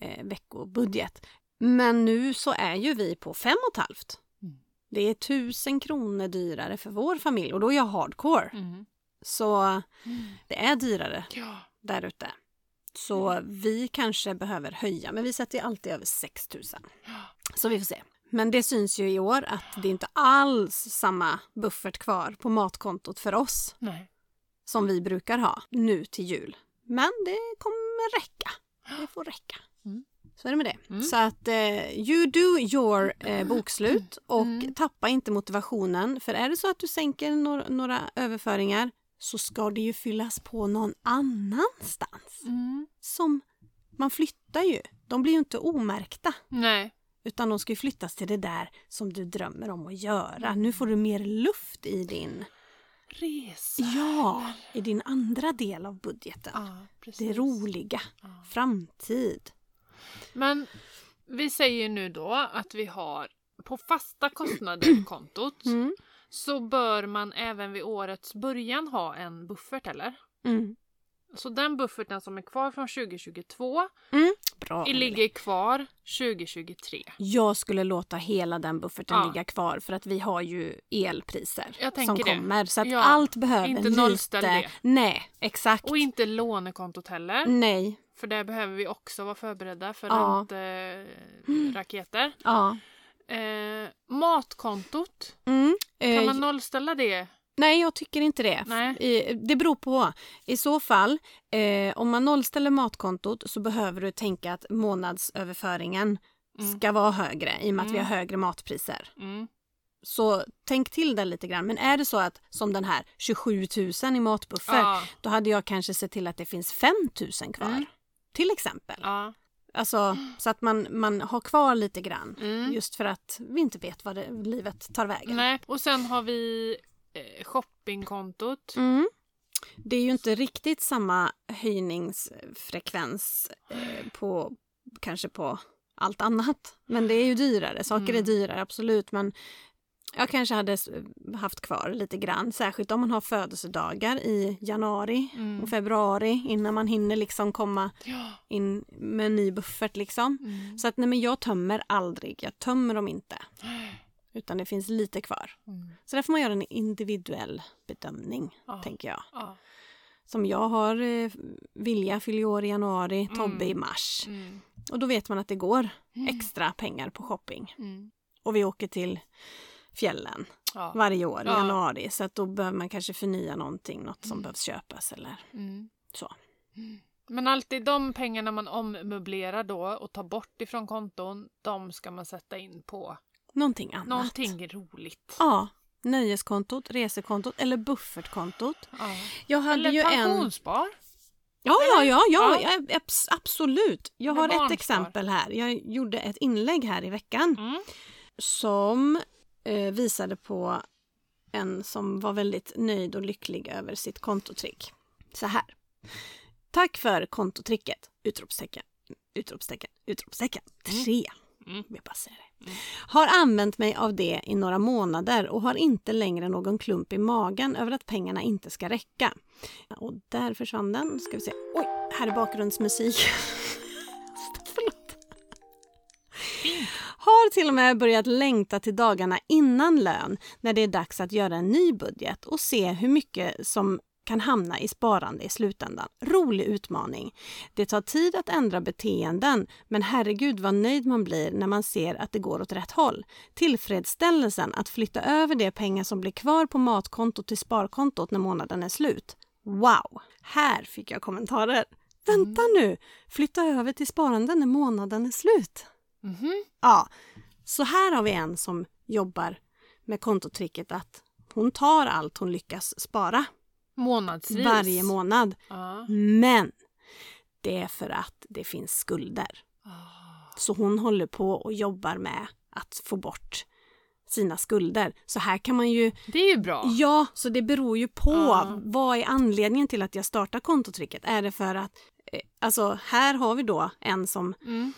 eh, veckobudget. Men nu så är ju vi på fem och ett halvt. Mm. Det är tusen kronor dyrare för vår familj och då är jag hardcore. Mm. Så det är dyrare Ja. där ute. Så vi kanske behöver höja, men vi sätter ju alltid över 6 000. Så vi får se. Men det syns ju i år att det är inte alls samma buffert kvar på matkontot för oss Nej. som vi brukar ha nu till jul. Men det kommer räcka. Det får räcka. Mm. Så är det med det. Mm. Så att eh, you do your eh, bokslut och Mm. tappa inte motivationen. För är det så att du sänker några, några överföringar så ska det ju fyllas på någon annanstans. Mm. Som man flyttar ju. De blir ju inte omärkta. Nej. Utan de ska ju flyttas till det där som du drömmer om att göra. Mm. Nu får du mer luft i din Resa. Ja, i din andra del av budgeten. Ja, Det precis. roliga. Ja. Framtid. Men vi säger nu då att vi har på fasta kostnader på kontot Mm. så bör man även vid årets början ha en buffert eller? Mm. Så den bufferten som är kvar från 2022 Bra. Emelie. ligger kvar 2023. Jag skulle låta hela den bufferten Ja. ligga kvar för att vi har ju elpriser Jag tänker som det. kommer. Så att Ja, allt behöver inte lite... nollställ det. Nej, exakt. Och inte lånekontot heller. Nej. För där behöver vi också vara förberedda för Mm. Ja. ränteraketer. Ja. Eh, matkontot, Mm. kan Eh, man nollställa det? Nej, jag tycker inte det. Nej. I- Det beror på. I så fall, eh, om man nollställer matkontot så behöver du tänka att månadsöverföringen Mm. ska vara högre i och med att vi Mm. har högre matpriser. Mm. Så tänk till där lite grann. Men är det så att som den här 27 000 i matbuffer, Ja. då hade jag kanske sett till att det finns 5 000 kvar. Mm. Till exempel. Ja. Alltså, så att man, man har kvar lite grann. Mm. Just för att vi inte vet vad det, livet tar vägen. Nej, och sen har vi eh, shoppingkontot. Mm. Det är ju inte riktigt samma höjningsfrekvens eh, på kanske på allt annat. Men det är ju dyrare. Saker är Mm. dyrare, absolut. Men jag kanske hade s- haft kvar lite grann. Särskilt om man har födelsedagar i januari Mm. och februari innan man hinner liksom komma Ja. in med en ny buffert. Liksom. Mm. Så att nej, men jag tömmer aldrig. Jag tömmer dem inte. Utan det finns lite kvar. Mm. Så där får man göra en individuell bedömning, Ja. tänker jag. Ja. Som jag har, eh, Vilja fyller ju år i januari, Tobbe i mars. Mm. Och då vet man att det går extra pengar på shopping. Mm. Och vi åker till fjällen Ja. varje år i Ja. januari. Så att då behöver man kanske förnya någonting, något som behövs köpas eller Mm. så. Men alltid de pengarna man ommöblerar då och tar bort ifrån konton, de ska man sätta in på Någonting annat. någonting roligt. Ja, nöjeskontot, resekontot eller buffertkontot. Ja. Jag hade ju Eller en... pensionsspar. Ja, ja, ja, ja, Ja. ja. abs- absolut. Jag Med har ett barnspar. exempel här. Jag gjorde ett inlägg här i veckan Mm. som eh, visade på en som var väldigt nöjd och lycklig över sitt kontotrick. Så här. Tack för kontotricket! Utropstecken, utropstecken, utropstecken. Tre. Mm. Jag bara säger det. Mm. Har använt mig av det i några månader och har inte längre någon klump i magen över att pengarna inte ska räcka. Och där försvann den. Ska vi se. Oj, här är bakgrundsmusik. Förlåt. Har till och med börjat längta till dagarna innan lön när det är dags att göra en ny budget och se hur mycket som kan hamna i sparande i slutändan. Rolig utmaning. Det tar tid att ändra beteenden, men herregud vad nöjd man blir när man ser att det går åt rätt håll. Tillfredsställelsen att flytta över de pengar som blir kvar på matkontot till sparkontot när månaden är slut. Wow! Här fick jag kommentarer. Vänta nu! Flytta över till sparande när månaden är slut. Mhm. Ja, så här har vi en som jobbar med kontotricket att hon tar allt hon lyckas spara Månadsvis. varje månad. Ja. Men det är för att det finns skulder. Så hon håller på och jobbar med att få bort sina skulder. Så här kan man ju... Det är ju bra. Ja, så det beror ju på. Ja. Vad är anledningen till att jag startar kontotricket? Är det för att... eh, Alltså, här har vi då en som Mm.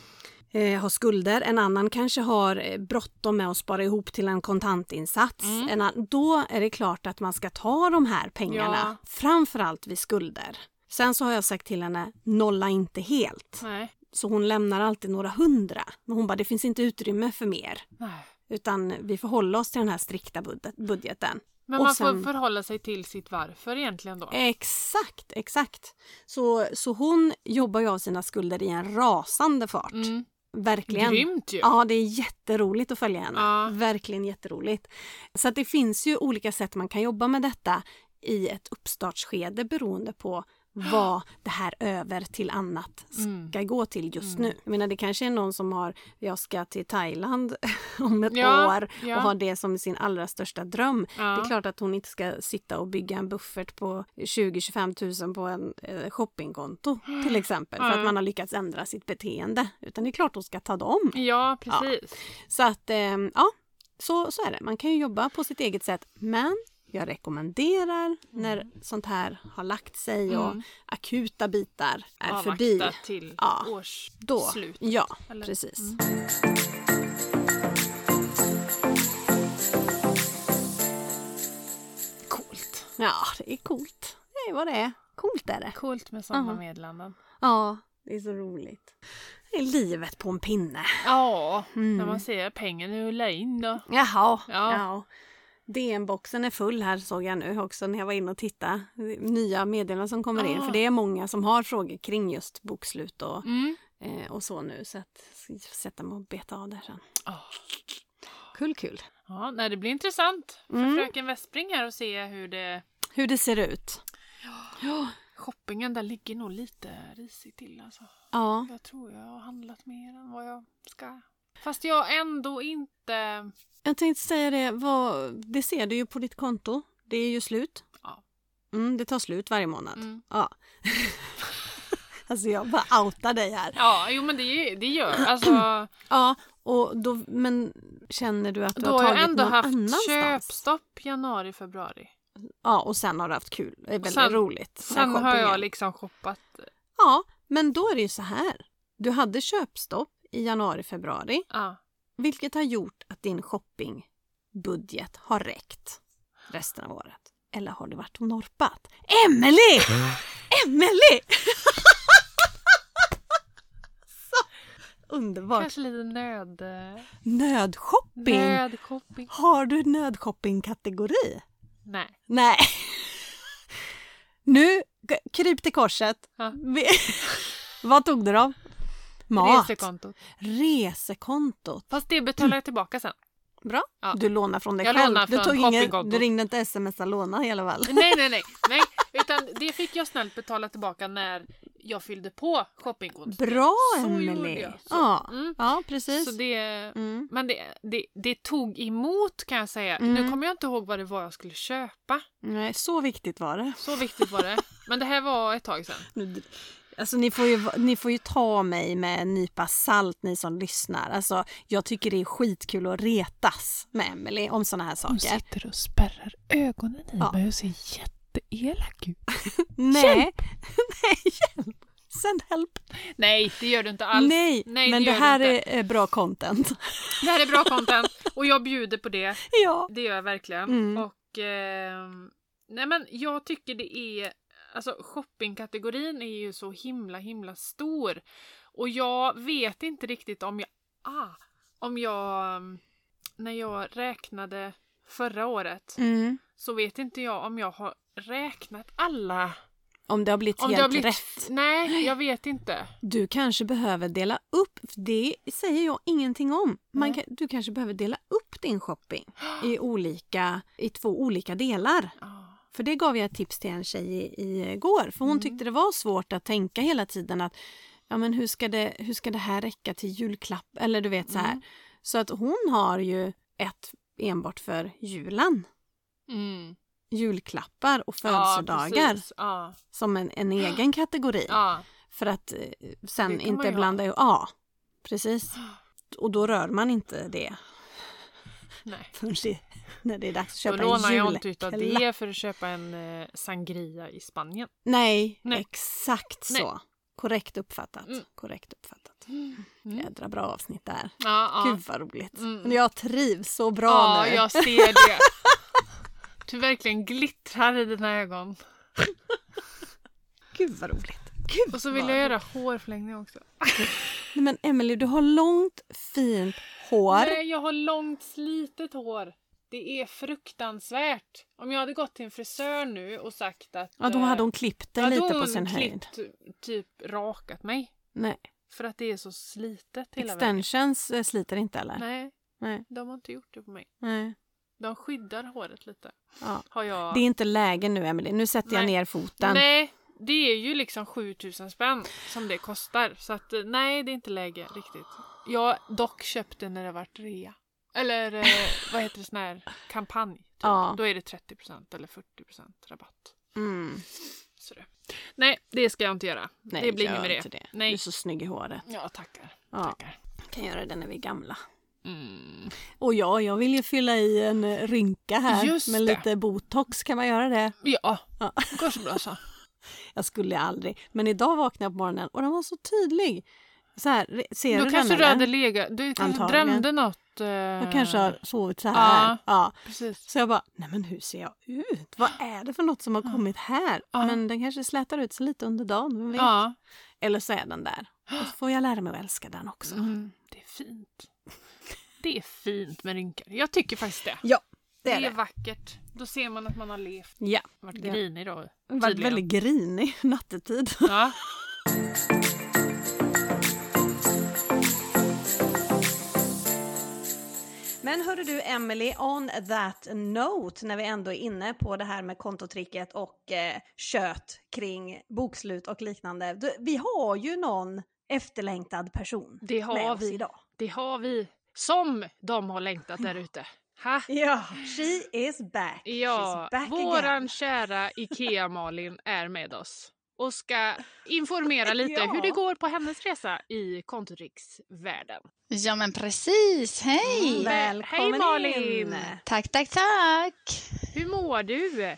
eh, har skulder, en annan kanske har eh, bråttom med att spara ihop till en kontantinsats. Mm. En ann- då är det klart att man ska ta de här pengarna, framförallt vid skulder. Sen så har jag sagt till henne, nolla inte helt. Nej. Så hon lämnar alltid några hundra. Men hon bara, det finns inte utrymme för mer. Nej. Utan vi får hålla oss till den här strikta budget- budgeten. Men Och man sen- får förhålla sig till sitt varför egentligen då. Exakt, exakt. Så, så hon jobbar ju av sina skulder i en rasande fart. Mm. Verkligen. Grymt ju. Ja, det är jätteroligt att följa henne. Ja. Verkligen jätteroligt. Så att det finns ju olika sätt man kan jobba med detta i ett uppstartsskede beroende på vad det här över till annat Mm. ska gå till just nu. Jag menar det kanske är någon som har, jag ska till Thailand om ett Ja, år ja. och har det som sin allra största dröm. Ja. Det är klart att hon inte ska sitta och bygga en buffert på 20-25 000 på en eh, shoppingkonto till exempel för att Mm. man har lyckats ändra sitt beteende. Utan det är klart hon ska ta dem. Ja, precis. Så att eh, ja, så, så är det. Man kan ju jobba på sitt eget sätt men jag rekommenderar när sånt här har lagt sig och Mm. akuta bitar är Avvakta förbi. till Ja. Då. Mm, årsslut. Ja, eller? Mm. precis. Coolt. Ja, det är coolt. Det är vad det är. Coolt är det. Coolt med sådana Ja. meddelanden. Ja, det är så roligt. Det är livet på en pinne. Ja, Mm. när man ser pengen rulla in då. Jaha. Ja. Ja. DN-boxen är full här såg jag nu också när jag var inne och tittade. Nya meddelanden som kommer in. Ah. För det är många som har frågor kring just bokslut och, Mm. eh, och så nu. Så att jag ska sätta mig och beta av där sen. Ah. Kul, kul. Ja, nej, det blir intressant för Mm. fröken Westbring här och se hur det... Hur det ser ut. Ja. Shoppingen där ligger nog lite risigt till alltså. Ja. Jag tror jag har handlat mer än vad jag ska. Fast jag ändå inte... Jag tänkte säga det, vad, det ser du ju på ditt konto. Det är ju slut. Ja. Mm, det tar slut varje månad. Mm. Ja. alltså jag bara outar dig här. Ja, jo men det, det gör alltså. Ja, och då, men känner du att du Då har har jag tagit ändå någon haft annanstans? köpstopp januari, februari. Ja, och sen har du haft kul. Det är väldigt Sen- roligt. med Sen har shoppingen. jag liksom shoppat. Ja, men då är det ju så här. Du hade köpstopp i januari, februari, Ja. vilket har gjort att din shoppingbudget har räckt resten av året. Eller har du varit och norpat? Emily! Emily! så underbart. Kanske lite nöd... eh, Nödshopping. Nödshopping. Har du nödshoppingkategori? Nej. Nej. Nu, g- kryp till korset. Ja. Vi- Vad tog du då? Mat. Resekontot. Resekontot. Fast det betalar jag tillbaka sen. Bra. Ja. Du lånar från dig Jag själv. lånar du, från tog ingen, shoppingkontot. du ringde inte smsa låna i alla fall. Nej, nej, nej. nej. Utan det fick jag snällt betala tillbaka när jag fyllde på shoppingkontot. Bra Så gjorde Emelie. jag. Så- Ja. Mm. ja, precis. Så det... Mm. Men det, det, det tog emot kan jag säga. Mm. Nu kommer jag inte ihåg vad det var jag skulle köpa. Nej, så viktigt var det. Så viktigt var det. Men det här var ett tag sedan. Nu, Alltså ni får, ju, ni får ju ta mig med en nypa salt ni som lyssnar. Alltså jag tycker det är skitkul att retas med Emily om såna här Hon saker. sitter och spärrar ögonen i Ja. mig och ser jätteelak ut. Nej, nej hjälp! Send help! Nej, det gör du inte alls. nej, nej, men det det, gör du här inte. är eh, bra content. Det här är bra content och jag bjuder på det. ja. Det gör jag verkligen. Mm. Och ehm, nej men jag tycker det är, alltså shoppingkategorin är ju så himla himla stor. Och jag vet inte riktigt om jag, ah, om jag, mm, när jag räknade förra året Mm. så vet inte jag om jag har räknat alla. Om det har blivit Om helt har blivit- rätt. Nej, jag vet inte. Du kanske behöver dela upp, för det säger jag ingenting om. Man Nej. kan, du kanske behöver dela upp din shopping i, olika, i två olika delar. Ah, För det gav jag ett tips till en tjej i, i eh, går. För hon Mm. tyckte det var svårt att tänka hela tiden att ja, men hur, ska det, hur ska det här räcka till julklapp? Eller du vet så här. Mm. Så att hon har ju ett enbart för julen. Mm. Julklappar och Ja, födelsedagar precis. ja, som en, en egen kategori. ja. För att eh, sen Det kan man ju inte ha. blanda ihop. Ja, precis. Och då rör man inte det Nej. förrän det, när det är dags att Då köpa en lånar jag inte utav julklapp. det för att köpa en eh, sangria i Spanien. Nej, Nej. exakt Nej. så. Korrekt uppfattat. Mm. Korrekt uppfattat. Mm. Jädra bra avsnitt där. Ja, ja. Gud vad roligt. Mm. Men jag trivs så bra ja nu. jag ser det. Du verkligen glittrar i dina ögon. Gud vad roligt. Gud Och så vill vad jag roligt. göra hårförlängning också. Nej, Men Emily, du har långt fint hår. Nej, jag har långt slitet hår. Det är fruktansvärt. Om jag hade gått till en frisör nu och sagt att... eh, Ja, då hade hon klippt det lite på sin höjd. klippt, typ rakat mig. Nej. För att det är så slitet hela vägen. Extensions eh, sliter inte eller? Nej, Nej. de har inte gjort det på mig. Nej. De skyddar håret lite. Ja. Har jag... Det är inte läge nu Emily. Nu sätter jag Nej. ner foten. Nej, det är ju liksom 7000 spänn som det kostar. Så att eh, nej, det är inte läge riktigt. Jag dock köpte när det vart rea. Eller eh, vad heter det sån här kampanj? Typ. Ja. Då är det 30% eller 40% rabatt. Mm. Så det. Nej, det ska jag inte göra. Nej, det blir gör inget med det. inte det. Du är Nej. så snygg i håret. Ja, tackar. Ja, tackar. kan göra det när vi är gamla. Mm. Och ja, jag vill ju fylla i en eh, rynka här Just med det. lite botox. Kan man göra det? Ja, Ja. det går så bra så. Jag skulle aldrig. Men idag vaknade jag på morgonen och den var så tydlig. Så här, re- ser Då du kanske den du eller? hade legat. Du kanske Antagligen. drömde något. Eh... Jag kanske har sovit så här. Ja. Ja. Precis. Så jag bara, nej men hur ser jag ut? Vad är det för något som har kommit här? Ja. Men den kanske slätar ut sig lite under dagen, vem vet? Ja. Eller så är den där. Och så får jag lära mig att älska den också. Mm, det är fint. Det är fint med rynkor. Jag tycker faktiskt det. Ja, Det det är, är det. vackert. Då ser man att man har levt. Ja. Varit Ja. grinig då. Varit tydligen. väldigt grinig nattetid. Ja. Men hörru du Emily, on that note, när vi ändå är inne på det här med kontotricket och eh, kött kring bokslut och liknande. Du, Vi har ju någon efterlängtad person Det med har oss vi. idag. Det har vi. Som de har längtat där ute. Ha? Ja, she is back. Ja, She's back våran again. kära IKEA-Malin är med oss och ska informera lite Ja. hur det går på hennes resa i kontoriksvärlden. Ja, men precis. Hej! Mm. Välkommen Hej, Malin. in! Tack, tack, tack. Hur mår du?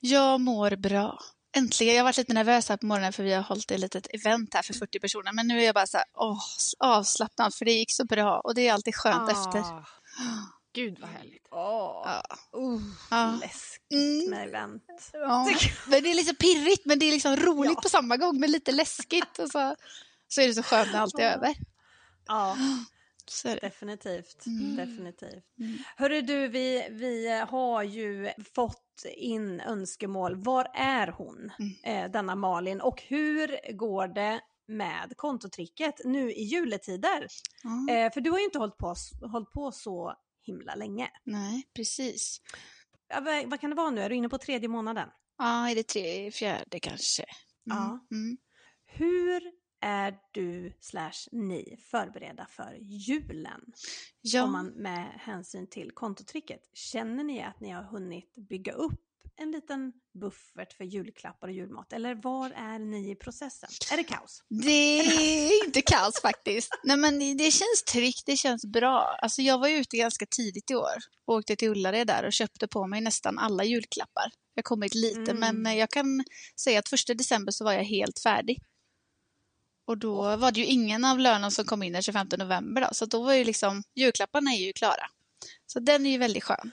Jag mår bra. Äntligen. Jag har varit lite nervös här på morgonen för vi har hållit ett litet event här för Mm. 40 personer. Men nu är jag bara så här, åh, avslappnad för det gick så bra och det är alltid skönt efter. Ah, Gud vad härligt. Åh, Ja. uh, Ja. Mm. läskigt med event. Ja. Men det är liksom pirrigt men det är liksom roligt på samma gång men lite läskigt. Och så, så är det så skönt när allt är Ja. över. Ja, Så är det. Definitivt. Mm. definitivt. Hörru du, vi, vi har ju fått in önskemål. Var är hon, Mm. eh, denna Malin? Och hur går det med kontotricket nu i juletider? Ja. Eh, för du har ju inte hållit på, hållit på så himla länge. Nej, precis. Ja, vad, vad kan det vara nu? Är du inne på tredje månaden? Ja, är det tre, fjärde kanske? Mm. Ja. Mm. Hur är du slash ni förberedda för julen? Ja. Om man med hänsyn till kontotricket. Känner ni att ni har hunnit bygga upp en liten buffert för julklappar och julmat? Eller var är ni i processen? Är det kaos? Det är inte kaos faktiskt. Nej, men det känns tryggt, det känns bra. Alltså, jag var ute ganska tidigt i år och åkte till Ullared där och köpte på mig nästan alla julklappar. Jag har kommit lite, Mm. men eh, jag kan säga att första december så var jag helt färdig. Och då var det ju ingen av lönen som kom in den 25 november då, så att då var ju liksom julklapparna är ju klara. Så den är ju väldigt skön.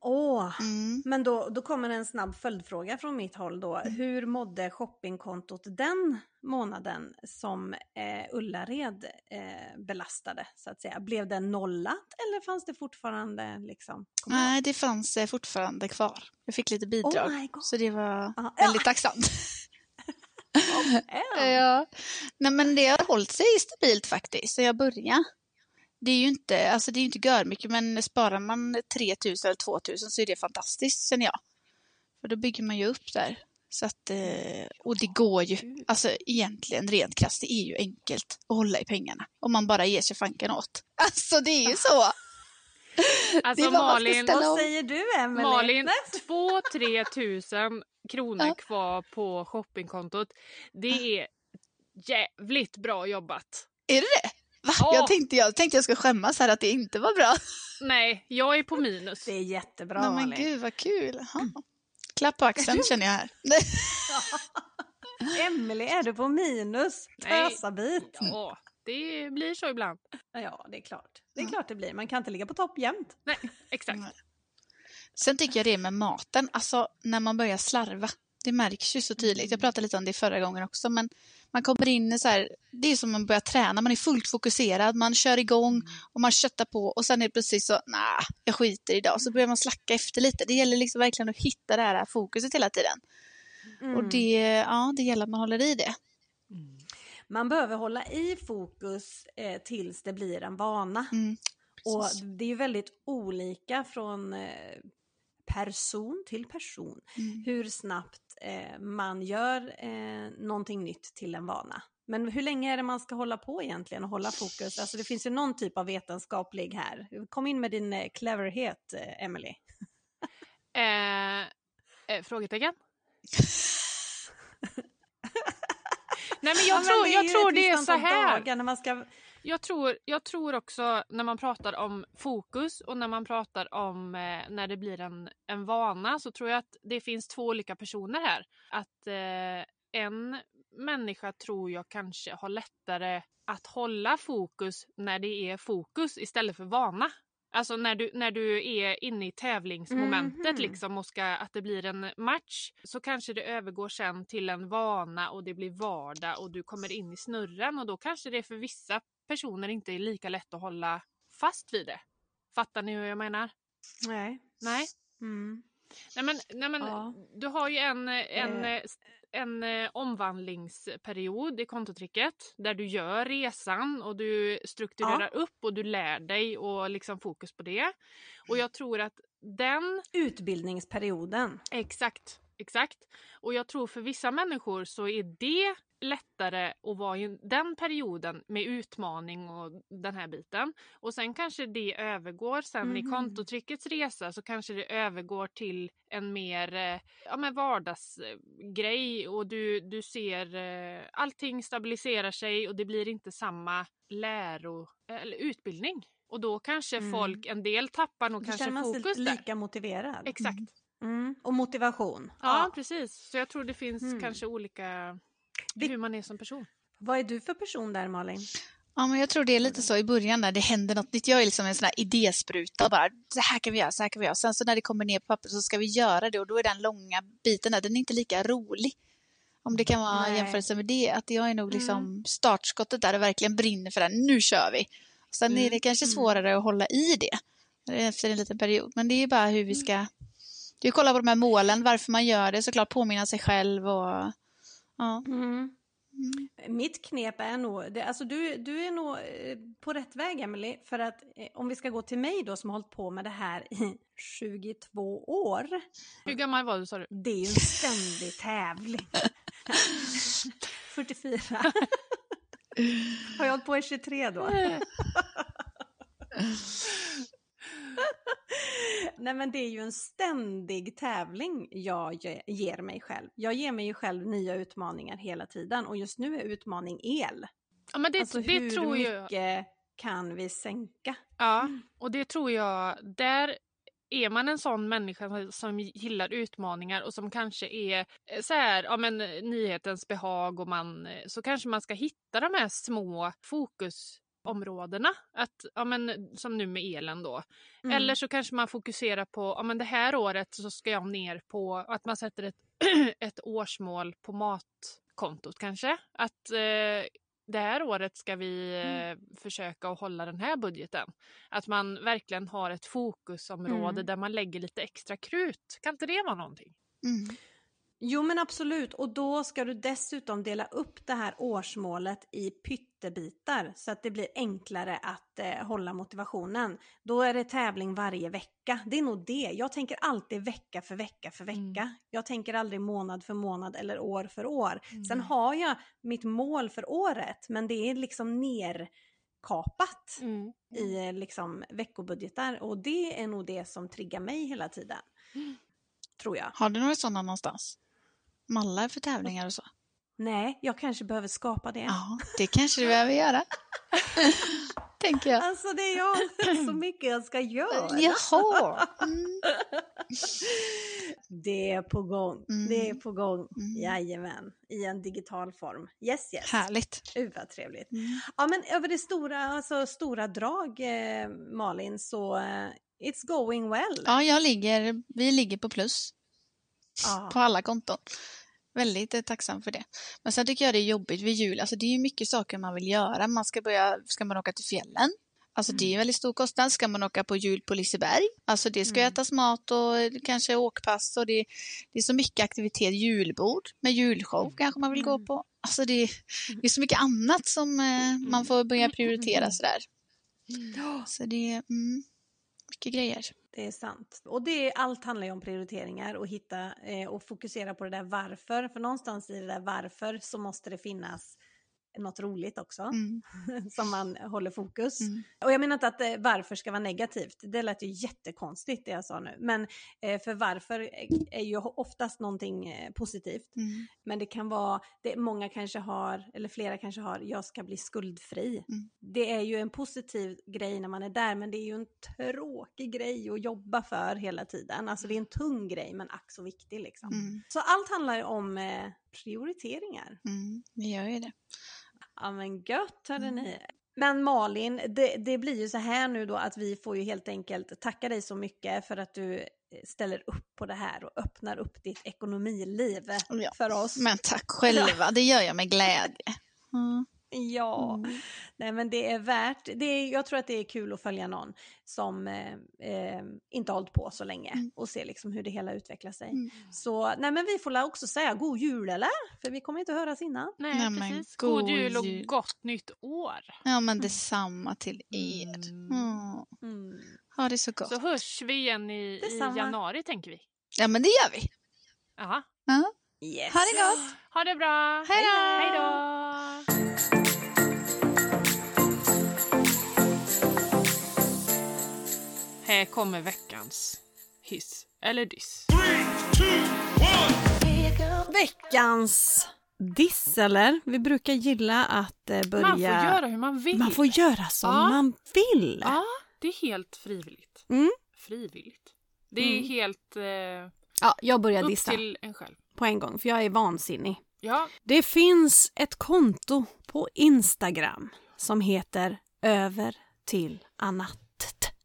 Åh, Mm. men då, då kommer en snabb följdfråga från mitt håll då. Hur mådde shoppingkontot den månaden som eh, Ullared eh, belastade så att säga? Blev den nollat eller fanns det fortfarande liksom? Kommer du ihåg? Nej, det fanns eh, fortfarande kvar. Jag fick lite bidrag, Oh my god. så det var Ja. väldigt tacksamt. Äh, Ja. Nej, men det har hållit sig stabilt faktiskt, så jag började. Det är ju inte, alltså det är ju inte görmycket, men sparar man 3000 eller 2000 så är det fantastiskt, känner jag. För då bygger man ju upp där. Så att, eh, och det går ju, alltså egentligen rent krasst, det är ju enkelt att hålla i pengarna. Om man bara ger sig fanken åt. Alltså det är ju så! Alltså Det var vad man ska Malin, ställa Vad säger du Emelie? Malin, Nej, 2-3 tusen kronor Ja. kvar på shoppingkontot. Det är jävligt bra jobbat. Är det det? Va? Ja. Jag, tänkte, jag tänkte jag skulle skämmas här att det inte var bra. Nej, jag är på minus. Det är jättebra Nej, Malin. men gud vad kul! Jaha. Mm. Klapp på axeln känner jag här. Emelie, är du på minus? Nej. Tösabit. Ja, det blir så ibland. Ja, det är klart. Det är klart det blir. Man kan inte ligga på topp jämt. Nej, exakt. Nej. Mm. Sen tycker jag det med maten, alltså när man börjar slarva. Det märks ju så tydligt. Jag pratade lite om det förra gången också, men man kommer in i så här, det är som man börjar träna, man är fullt fokuserad, man kör igång och man köttar på och sen är det precis så, nej, jag skiter idag, så börjar man slacka efter lite. Det gäller liksom verkligen att hitta det här fokuset hela tiden. Mm. Och det, ja, det gäller att man håller i det. Man behöver hålla i fokus eh, tills det blir en vana. Mm. Och precis. det är ju väldigt olika från eh, person till person Mm. hur snabbt eh, man gör eh, någonting nytt till en vana. Men hur länge är det man ska hålla på egentligen och hålla fokus? Alltså det finns ju någon typ av vetenskaplig här. Kom in med din eh, cleverhet, eh, Emily. Eh, eh, frågetecken? Nej men Ja, men jag tror, är jag ju tror ett det är visst så antal här. dagar när man ska... Jag tror, jag tror också när man pratar om fokus och när man pratar om eh, när det blir en, en vana så tror jag att det finns två olika personer här. Att eh, en människa tror jag kanske har lättare att hålla fokus när det är fokus istället för vana. Alltså när du, när du är inne i tävlingsmomentet Mhm. liksom och ska, att det blir en match så kanske det övergår sen till en vana och det blir vardag och du kommer in i snurren och då kanske det för vissa personer inte är lika lätt att hålla fast vid det. Fattar ni hur jag menar? Nej. Nej? Mm. Nej men, nej, men Ja. du har ju en, eh, en, eh, s- en eh, omvandlingsperiod i kontotricket där du gör resan och du strukturerar upp och du lär dig och liksom fokus på det. Och jag tror att den Utbildningsperioden. Exakt, exakt. Och jag tror för vissa människor så är det lättare att vara i den perioden med utmaning och den här biten. Och sen kanske det övergår sen i Mhm. kontotryckets resa så kanske det övergår till en mer eh, ja, men vardagsgrej och du, du ser eh, allting stabiliserar sig och det blir inte samma läro eller utbildning. Och då kanske Mm. folk, en del tappar nog Då kanske känner man sig fokus där. lika motiverad. Exakt. Mm. Och motivation. Ja, precis. Så jag tror det finns Mm. kanske olika Vi- hur man är som person. Vad är du för person där Malin? Ja, men jag tror det är lite så i början när det händer något nytt. Jag är liksom en sån här idéspruta bara. Så här kan vi göra, så här kan vi göra. Sen så när det kommer ner på papper så ska vi göra det och då är den långa biten där, den är inte lika rolig. Om det kan vara en Nej. jämförelse med det, att jag är nog liksom startskottet där och verkligen brinner för den. Nu kör vi! Sen är det kanske svårare att hålla i det efter en liten period. Men det är bara hur vi ska... Du kollar på de här målen, varför man gör det, såklart påminna sig själv och... Ja. Mitt knep är nog, det, alltså du, du är nog eh, på rätt väg Emily, för att eh, om vi ska gå till mig då som har hållit på med det här i 22 år, Hur gammal var du sa du? det är ju en ständig tävling. 44. har jag hållit på i 23 då? Nej men det är ju en ständig tävling jag ge- ger mig själv. Jag ger mig ju själv nya utmaningar hela tiden och just nu är utmaning el. Ja, men det, alltså det hur tror jag. mycket Mm. kan vi sänka? Ja, och det tror jag, där är man en sån människa som- som gillar utmaningar och som kanske är eh, så här, ja men eh, nyhetens behag och man, eh, så kanske man ska hitta de här små fokusområdena. Att, ja men, som nu med elen då. Mm. Eller så kanske man fokuserar på, ja men det här året så ska jag ner på, att man sätter ett, ett årsmål på matkontot kanske. Att eh, det här året ska vi Mm. eh, försöka att hålla den här budgeten. Att man verkligen har ett fokusområde Mm. där man lägger lite extra krut. Kan inte det vara någonting? Mm. Jo men absolut och då ska du dessutom dela upp det här årsmålet i pyttebitar så att det blir enklare att eh, hålla motivationen. Då är det tävling varje vecka. Det är nog det. Jag tänker alltid vecka för vecka för vecka. Mm. Jag tänker aldrig månad för månad eller år för år. Sen Mm. har jag mitt mål för året men det är liksom nerkapat Mm. i eh, liksom veckobudgetar och det är nog det som triggar mig hela tiden. Mm. Tror jag. Har du några sådana någonstans? Mallar för tävlingar och så? Nej, jag kanske behöver skapa det. Ja, det kanske du behöver göra. Tänker jag. Alltså det är jag så mycket jag ska göra. Jaha. Mm. Det är på gång, Mm. det är på gång. Mm. Jajamän, i en digital form. Yes yes. Härligt. Uh, vad trevligt. Mm. Ja men över det stora, alltså stora drag eh, Malin så eh, it's going well. Ja, jag ligger, vi ligger på plus Ja. på alla konton. Väldigt eh, tacksam för det. Men sen tycker jag det är jobbigt vid jul. Alltså det är ju mycket saker man vill göra. Man ska börja, ska man åka till fjällen? Alltså det är en väldigt stor kostnad. Ska man åka på jul på Liseberg? Alltså det ska Mm. ätas mat och eh, kanske åkpass och det, det är så mycket aktivitet. Julbord med julshow kanske man vill gå på. Alltså det, det är så mycket annat som eh, man får börja prioritera sådär. Så det är mm, mycket grejer. Det är sant. Och det är, allt handlar ju om prioriteringar och hitta eh, och fokusera på det där varför. För någonstans i det där varför så måste det finnas något roligt också Mm. som man håller fokus. Mm. Och jag menar inte att eh, varför ska vara negativt, det lät ju jättekonstigt det jag sa nu. Men eh, för varför eh, är ju oftast någonting eh, positivt. Mm. Men det kan vara, det många kanske har, eller flera kanske har, jag ska bli skuldfri. Mm. Det är ju en positiv grej när man är där, men det är ju en tråkig grej att jobba för hela tiden. Alltså det är en tung grej, men ack så viktig liksom. Mm. Så allt handlar ju om eh, prioriteringar. Mm. Vi gör ju det. Ja men gött hörde Mm. ni. Men Malin, det, det blir ju så här nu då att vi får ju helt enkelt tacka dig så mycket för att du eh, ställer upp på det här och öppnar upp ditt ekonomiliv Mm, Ja. för oss. Men tack själva, det gör jag med glädje. Mm. Ja, Mm. nej men det är värt. Det är, jag tror att det är kul att följa någon som eh, eh, inte har hållit på så länge Mm. och se liksom hur det hela utvecklar sig. Mm. Så nej men vi får la också säga god jul eller? För vi kommer inte att höras innan. Nej, Nej, men precis. God, god jul och jul. gott nytt år. Ja, men detsamma till er. Mm. Mm. Ha det så gott. Så hörs vi igen i, i Detsamma. januari tänker vi. Ja, men det gör vi. Aha. Yes. Ha det gott. Ha det bra! Hej då! Hej då! Här kommer veckans hiss eller diss. Veckans diss eller? Vi brukar gilla att eh, börja... Man får göra hur man vill. Man får göra som Ja. man vill. Ja, det är helt frivilligt. Mm. Frivilligt. Det är Mm. helt eh, Ja, jag börjar upp dissa till en själv. på en gång för jag är vansinnig. Ja, Det finns ett konto på Instagram som heter över till annat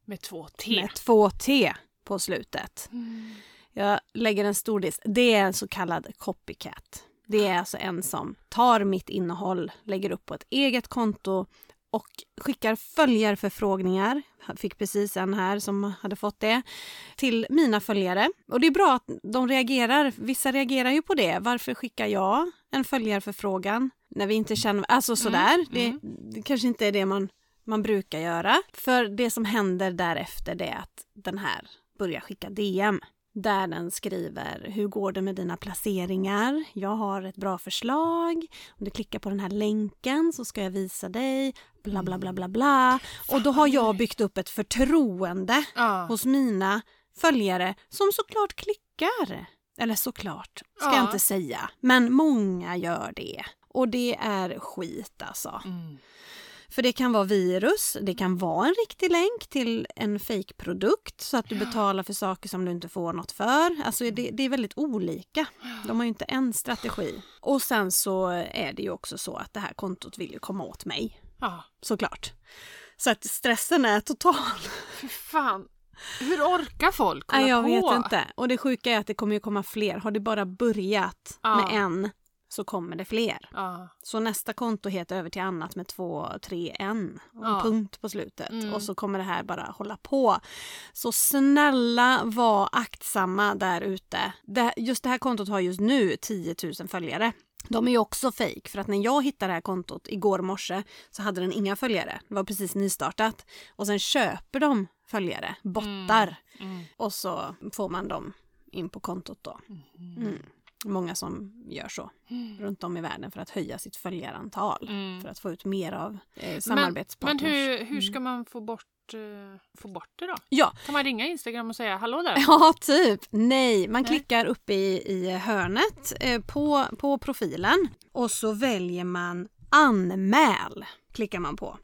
med två T. med två T på slutet. Mm. Jag lägger en stor disk. Det är en så kallad copycat. Det är alltså en som tar mitt innehåll, lägger upp på ett eget konto och skickar följarförfrågningar. Jag fick precis en här som hade fått det till mina följare. Och det är bra att de reagerar. Vissa reagerar ju på det. Varför skickar jag en följarförfrågan när vi inte känner... Alltså sådär. mm. Det, det kanske inte är det man, man brukar göra. För det som händer därefter det är att den här börjar skicka DM där den skriver hur går det med dina placeringar? Jag har ett bra förslag. Om du klickar på den här länken så ska jag visa dig. Bla, Mm. bla, bla, bla, bla. Och då har jag byggt upp ett förtroende Ja. hos mina följare som såklart klickar. Eller såklart, ska Ja. jag inte säga. Men många gör det. Och det är skit alltså. Mm. För det kan vara virus, det kan vara en riktig länk till en fejkprodukt så att du betalar för saker som du inte får något för. Alltså det, det är väldigt olika. De har ju inte en strategi. Och sen så är det ju också så att det här kontot vill ju komma åt mig, Ja, såklart. Så att stressen är total. fy fan. Hur orkar folk hålla Nej, jag på? vet inte. Och det sjuka är att det kommer ju komma fler. Har det bara börjat Ja. med en så kommer det fler. Ja. Så nästa konto heter över till annat med två, tre, en och en Ja. punkt på slutet. Mm. Och så kommer det här bara hålla på. Så snälla var aktsamma där ute. Det- Just det här kontot har just nu 10 000 följare. De är ju också fake för att när jag hittade det här kontot igår morse så hade den inga följare. Det var precis nystartat. Och sen köper de följare, bottar. Mm. Och så får man dem in på kontot då. Mm. Många som gör så runt om i världen för att höja sitt följarantal. Mm. För att få ut mer av eh, samarbetspartners. Mm. Men hur, hur ska man få bort, eh, få bort det då? Ja, Kan man ringa Instagram och säga hallå där? ja typ. Nej, man Nej. klickar uppe i, i hörnet eh, på, på profilen och så väljer man anmäl. Klickar man på.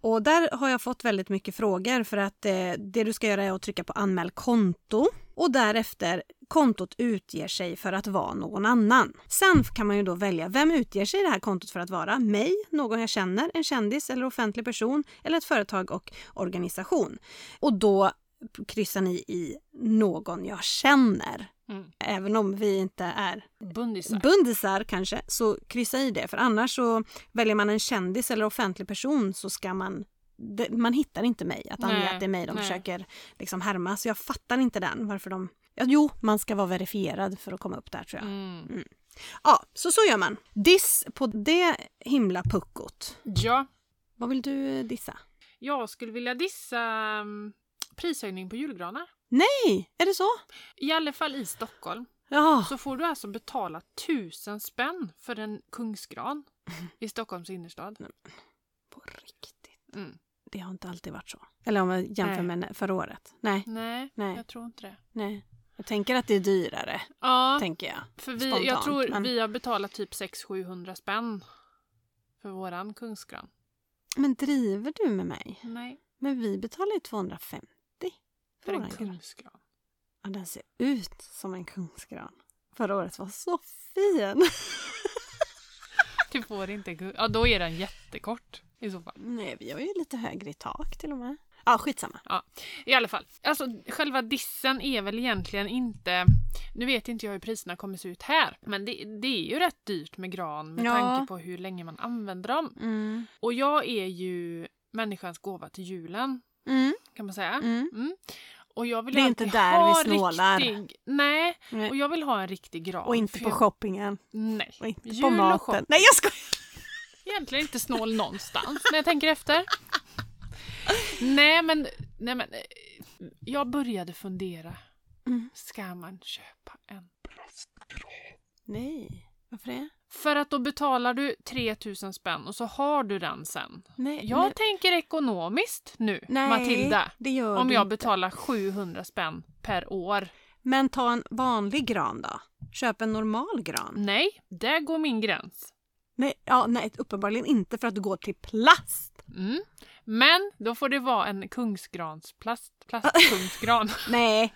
Och där har jag fått väldigt mycket frågor för att eh, det du ska göra är att trycka på anmäl konto och därefter kontot utger sig för att vara någon annan. Sen kan man ju då välja vem utger sig det här kontot för att vara? Mig, någon jag känner, en kändis eller offentlig person eller ett företag och organisation. Och då kryssar ni i någon jag känner. Mm. Även om vi inte är Bundisar. Bundisar kanske, så kryssa i det. För annars så väljer man en kändis eller offentlig person så ska man det, man hittar inte mig, att ange Nej, att det är mig de nej. försöker liksom härma. Så jag fattar inte den, varför de... Ja, jo, man ska vara verifierad för att komma upp där tror jag. Mm. Ja, så så gör man. Diss på det himla puckot. Ja, Vad vill du eh, dissa? jag skulle vilja dissa mm, prishöjning på julgranar. Nej, är det så? I alla fall i Stockholm. Ja, Så får du alltså betala tusen spänn för en kungsgran i Stockholms innerstad. på riktigt. Mm. Det har inte alltid varit så. Eller om jag jämför Nej. med förra året. Nej, Nej, Nej. jag tror inte det. nej. Jag tänker att det är dyrare, Ja, tänker jag. för vi, jag spontant, tror men- vi har betalat typ 600-700 spänn för våran kungsgran. Men driver du med mig? Nej, Men vi betalar ju 250 för en våran gran. kungsgran. Ja, den ser ut som en kungsgran. Förra året var så fin! Du får inte gu- Ja, då är den jättekort i så fall. Nej, vi har ju lite högre i tak till och med. Ja, skitsamma. I alla fall, alltså själva dissen är väl egentligen inte... Nu vet inte jag hur priserna kommer se ut här, men det, det är ju rätt dyrt med gran med Ja. tanke på hur länge man använder dem. Mm. Och jag är ju människans gåva till julen, Mm. kan man säga. Mm. Mm. Och jag vill Det är alltid inte där vi ha snålar. Riktig, nej, Nej. och jag vill ha en riktig gran. Och inte för på jag- shoppingen. Nej, Och inte Jul på och maten. shopping. Nej, jag skojar! egentligen inte snål någonstans när jag tänker efter. Nej men, nej men, eh, jag började fundera. Mm. Ska man köpa en? Nej, varför det? För att då betalar du 3000 spänn och så har du den sen. Nej, Jag tänker ekonomiskt nu, nej, Matilda. det gör Om du jag inte. betalar 700 spänn per år. Men ta en vanlig gran då. Köp en normal gran. Nej, där går min gräns. Nej, ja, nej, uppenbarligen inte för att du går till plast. Mm. Men då får det vara en kungsgransplast. Plastkungsgran. Nej.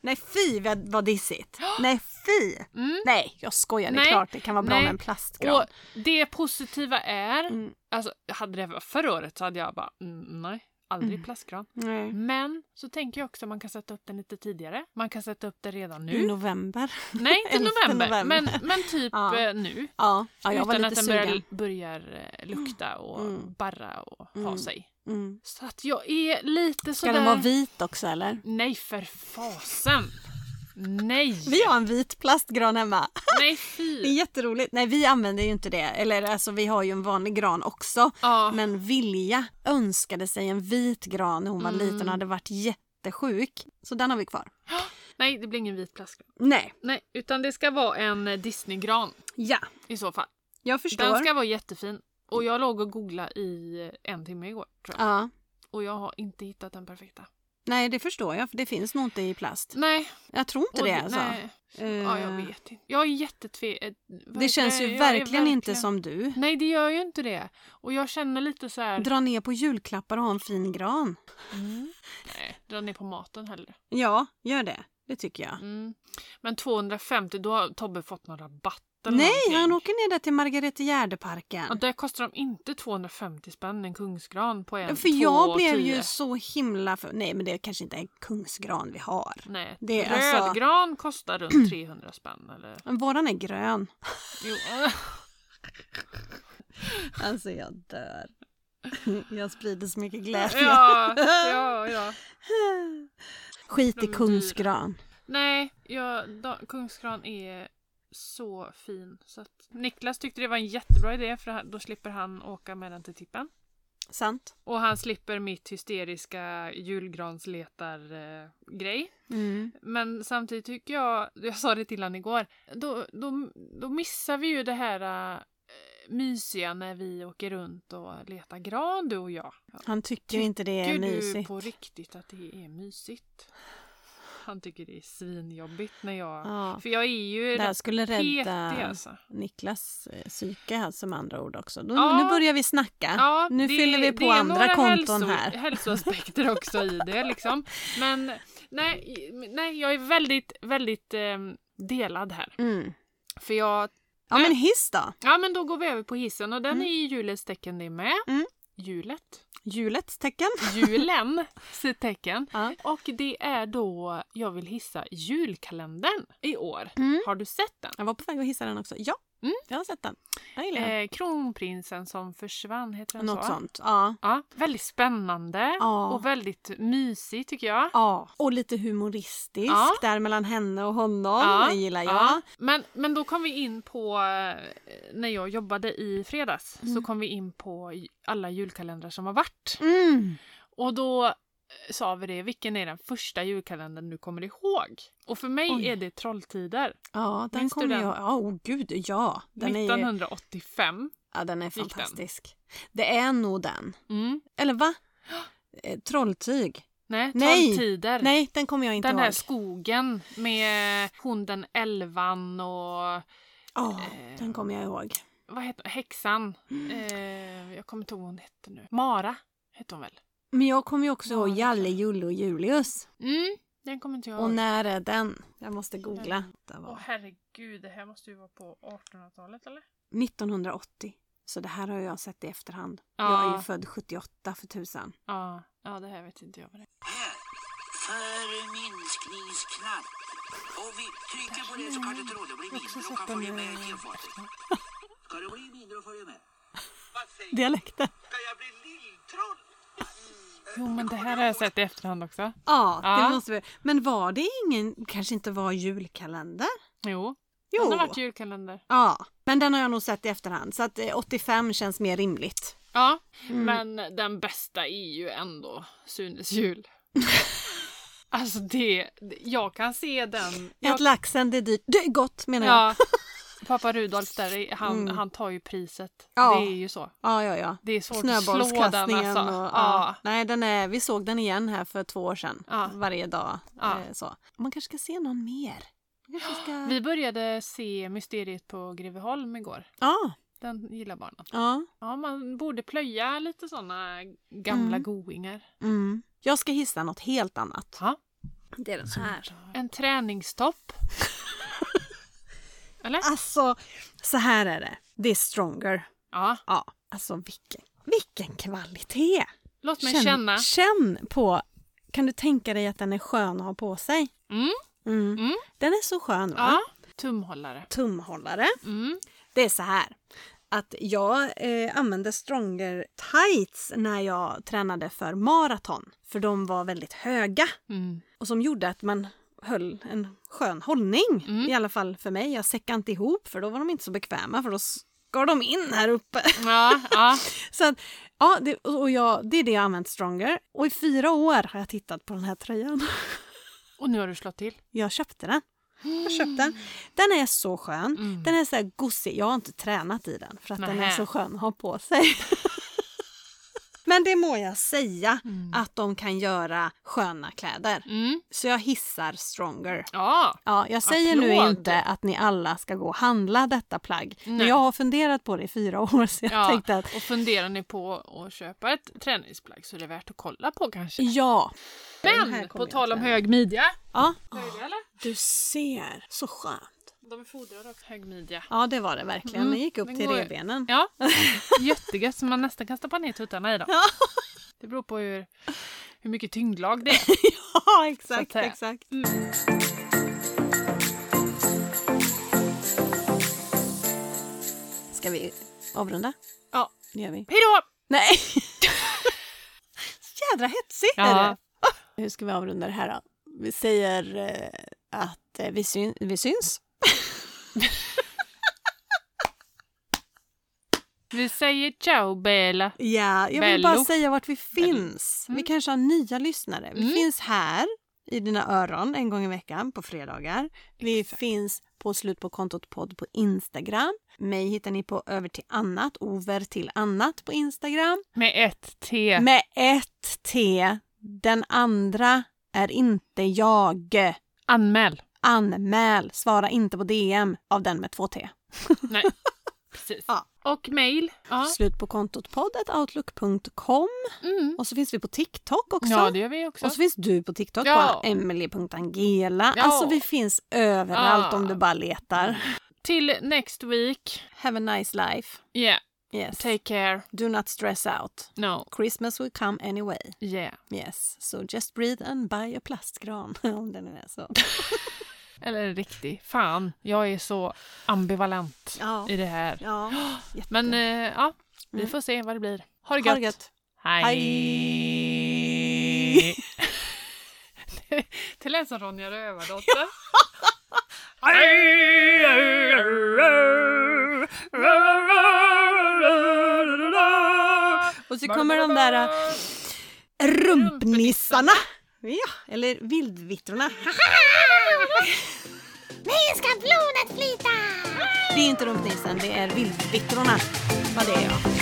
Nej fy vad- vad dissigt. Nej fy. Mm. Nej jag skojar, det är Nej. klart det kan vara bra Nej. med en plastgran. Och det positiva är, Mm. alltså hade det varit förra året så hade jag bara mm, nej, aldrig Mm. plastgran. Nej. Men så tänker jag också att man kan sätta upp den lite tidigare. Man kan sätta upp den redan I nu. november. nej, inte 11 november, november. Men, men typ Ja. eh, nu. Ja, ja jag var utan lite att den sugen. börjar, börjar eh, lukta och Mm. barra och ha Mm. sig. Mm. Så att jag är lite Ska sådär... den vara vit också eller? Nej, för fasen! Nej! Vi har en vit plastgran hemma. Nej, Det är fy! jätteroligt. Nej vi använder ju inte det. Eller alltså vi har ju en vanlig gran också. Ja. Men Vilja önskade sig en vit gran när hon var Mm. liten och hade varit jättesjuk. Så den har vi kvar. Nej, det blir ingen vit plastgran. Nej. Nej, utan det ska vara en eh, Disneygran Ja. i så fall. Jag förstår. Den ska vara jättefin. Och jag låg och googlade i en timme igår tror jag. Ja. Och jag har inte hittat den perfekta. Nej, det förstår jag. För det finns nog inte i plast. Nej. Jag tror inte och- Mm. det alltså. nej. Eh, Ja, jag vet inte. Jag är jättetve... eh, vad Det heter känns ju Jag är verkligen, inte som du. Nej, det gör ju inte det. Och jag känner lite så här... Dra ner på julklappar och ha en fin gran. Mm. Nej, dra ner på maten hellre. Ja, gör det. Det tycker jag. Mm. Men 250, då har Tobbe fått någon rabatt eller Nej, han någonting. åker ner där till Margareta Gärdeparken. Ja, där kostar de inte 250 spänn en kungsgran på en. För jag två, blev tio. ju så himla för... Nej, men det kanske inte är en kungsgran vi har. Nej, Det är alltså- rödgran kostar runt 300 spänn eller? Men våran är grön. Jo. Alltså jag dör. Jag sprider så mycket glädje. ja, ja, ja. Skit De är i dyra. kungsgran. Nej, jag- da, kungsgran är så fin. Så att Niklas tyckte det var en jättebra idé för han- då slipper han åka med den till tippen. Sant. Och han slipper mitt hysteriska julgransletar-grej. Mm. Men samtidigt tycker jag, jag sa det till honom igår, då, då, då missar vi ju det här äh, mysiga när vi åker runt och letar gran du och jag. Han tycker inte det är Tycker du mysigt. på riktigt att det är mysigt? Han tycker det är svinjobbigt när jag... Ja. För jag är ju Det här rätt skulle petig rädda alltså. Niklas eh, psyke här som andra ord också. Då, Ja. Nu börjar vi snacka. Ja, nu det- fyller vi det på är andra några konton här. hälsoaspekter också i det liksom. Men nej, nej jag är väldigt, väldigt ehm, delad här. Mm. För jag, Ja men hiss då. ja men då går vi över på hissen och den Mm. är i julets tecken det med. Mm. Julet. Julets tecken. Julen sitt tecken. Ja. Och det är då jag vill hissa julkalendern i år. Mm. Har du sett den? Jag var på väg att hissa den också. Ja, Mm. jag har sett den. Jag gillar den. Eh, kronprinsen som försvann, heter den Något Eh, så? sånt. Ja. Ja, väldigt spännande Ja. och väldigt mysig tycker jag. Ja. Och lite humoristisk Ja. där mellan henne och honom. Ja, Det gillar jag. Ja. Men, men då kom vi in på, eh, när jag jobbade i fredags, så kom vi in på j- alla julkalendrar som har varit. Mm. Och då eh, sa vi det, vilken är den första julkalendern du kommer ihåg? Och för mig Oj. är det Trolltider. Ja, den Minns du kommer den? jag... Ja, oh, gud, ja. Den är, ju- 1985. ja, den är den? fantastisk. Det är nog den. Mm. Eller va? Eh, Trolltyg. Nej, Nej. Trolltider. Nej, den kommer jag inte Den ihåg. här skogen med hon den elvan och Ja, eh, den kommer jag ihåg. vad heter häxan? Eh, jag kommer inte ihåg vad hon hette nu. Mara hette hon väl? Men jag kommer ju också Ja, ihåg det Jalle, kan- Julle och Julius. Mm, den kommer inte jag Och ihåg. när är den? Jag måste googla. Det Åh var herregud, det här måste ju vara på 1800-talet eller? 1980. Så det här har jag sett i efterhand. Ja. Jag är ju född 78 för tusan. Ja, ja det här vet inte jag vad det är. Här. Förminskningsknapp. Och vi trycker på det så kanske tråden blir mindre och kan följa med i tefatet. Ska det bli mindre och följa med? Vad säger du? Dialekten. Ska jag bli lilltroll? Jo men det här har jag sett i efterhand också. Ja, Ja. det måste vi. Men var det ingen, kanske inte var julkalender? Jo. Jo. Den har varit julkalender. Ja, men den har jag nog sett i efterhand. Så att eh, 85 känns mer rimligt. Ja, Mm. men den bästa är ju ändå Sunes jul. alltså det, jag kan se den. Ät Jag, laxen, det är dyrt. Det är gott menar jag. ja. Pappa Rudolf där, han, Mm. han tar ju priset. Ja. Det är ju så. Ja, ja, ja. Det är svårt att slå den Snöbollskastningen alltså. och... Ja. ja. Nej, den är, vi såg den igen här för två år sedan. Ja. Varje dag. Ja. Eh, så. Man kanske ska se någon mer. Man kanske ska... Vi började se Mysteriet på Greveholm igår. Ja, Den gillar barnen. ja. Ja, man borde plöja lite såna gamla Mm. goingar. Mm. Jag ska hissa något helt annat. Ja. Det är den här. En träningstopp. Eller? Alltså, så här är det. Det är stronger. Ja. Ja, alltså vilken, vilken kvalitet! Låt mig känna. Känn på, kan du tänka dig att den är skön att ha på sig? Mm. Mm. Mm. Den är så skön va? Ja. Tumhållare. Tumhållare. Mm. Det är så här att jag eh, använde stronger tights när jag tränade för maraton. För de var väldigt höga Mm. och som gjorde att man höll en skön hållning. Mm. I alla fall för mig. Jag säckade inte ihop för då var de inte så bekväma för då skar de in här uppe. Ja, ja. Så att, ja, det, och jag, det är det jag har använt Stronger. Och i fyra år har jag tittat på den här tröjan. Och nu har du slått till. Jag köpte den. Jag köpte den. Den är så skön. Mm. Den är så här gosig. Jag har inte tränat i den för att den är Nähä. så skön att ha på sig. Men det må jag säga Mm. att de kan göra sköna kläder. Mm. Så jag hissar stronger. Ja, Ja, jag säger Applåd. nu inte att ni alla ska gå och handla detta plagg. Men Nej. jag har funderat på det i fyra år så jag Ja. tänkte att och funderar ni på att köpa ett träningsplagg så är det värt att kolla på kanske. ja. Den här Men kommer på jag tal om träna. hög midja. ja. Höga eller? Du ser, så skönt. De är fodrade av hög midja. Ja, det var det verkligen. Mm. Den gick upp Den till går- revbenen. Ja, jättegött som man nästan kan stoppa ner tuttarna i dem. Ja. Det beror på hur, hur mycket tyngdlag det är. Ja, Så att exakt, säga. exakt. Ska vi avrunda? Ja. Det gör vi. Hejdå! Nej! Så jädra hetsigt är det. Ja. Hur ska vi avrunda det här då? Vi säger eh, att eh, vi, syn- vi syns. Vi säger ciao Bella. Ja, jag vill Bello. bara säga vart vi finns. Mm. Vi kanske har nya lyssnare. Vi Mm. finns här i dina öron en gång i veckan på fredagar. Vi finns på slut på kontot podd på Instagram. Mig hittar ni på över till annat, over till annat på Instagram. Med ett T. Med ett T. Den andra är inte jag. Anmäl. Anmäl. Svara inte på DM av den med två T. Nej, precis. Ja. Och mail. Ja. Slut på kontot podd.outlook.com. Mm. Och så finns vi på TikTok också. ja, det gör vi också. Och så finns du på TikTok Ja. på emily.angela. Ja. Alltså vi finns överallt Ah. om du bara letar. Till next week. Have a nice life. Yeah, Yes. take care. Do not stress out. No, Christmas will come anyway. yeah. Yes. So just breathe and buy a plastgran. om den är så. Eller en riktig. Fan, jag är så ambivalent Ja. i det här. Ja. Men jätte- eh, ja, vi Mm. får se vad det blir. Ha det ha det gött. gött. Hej! det lät som Ronja Rövardotter. Och så kommer de där äh, rumpnissarna. Ja, eller vildvittrorna. Nu ska blodet flyta! Det är inte rumpnissen, det är vildvittrorna. Vad det är ja.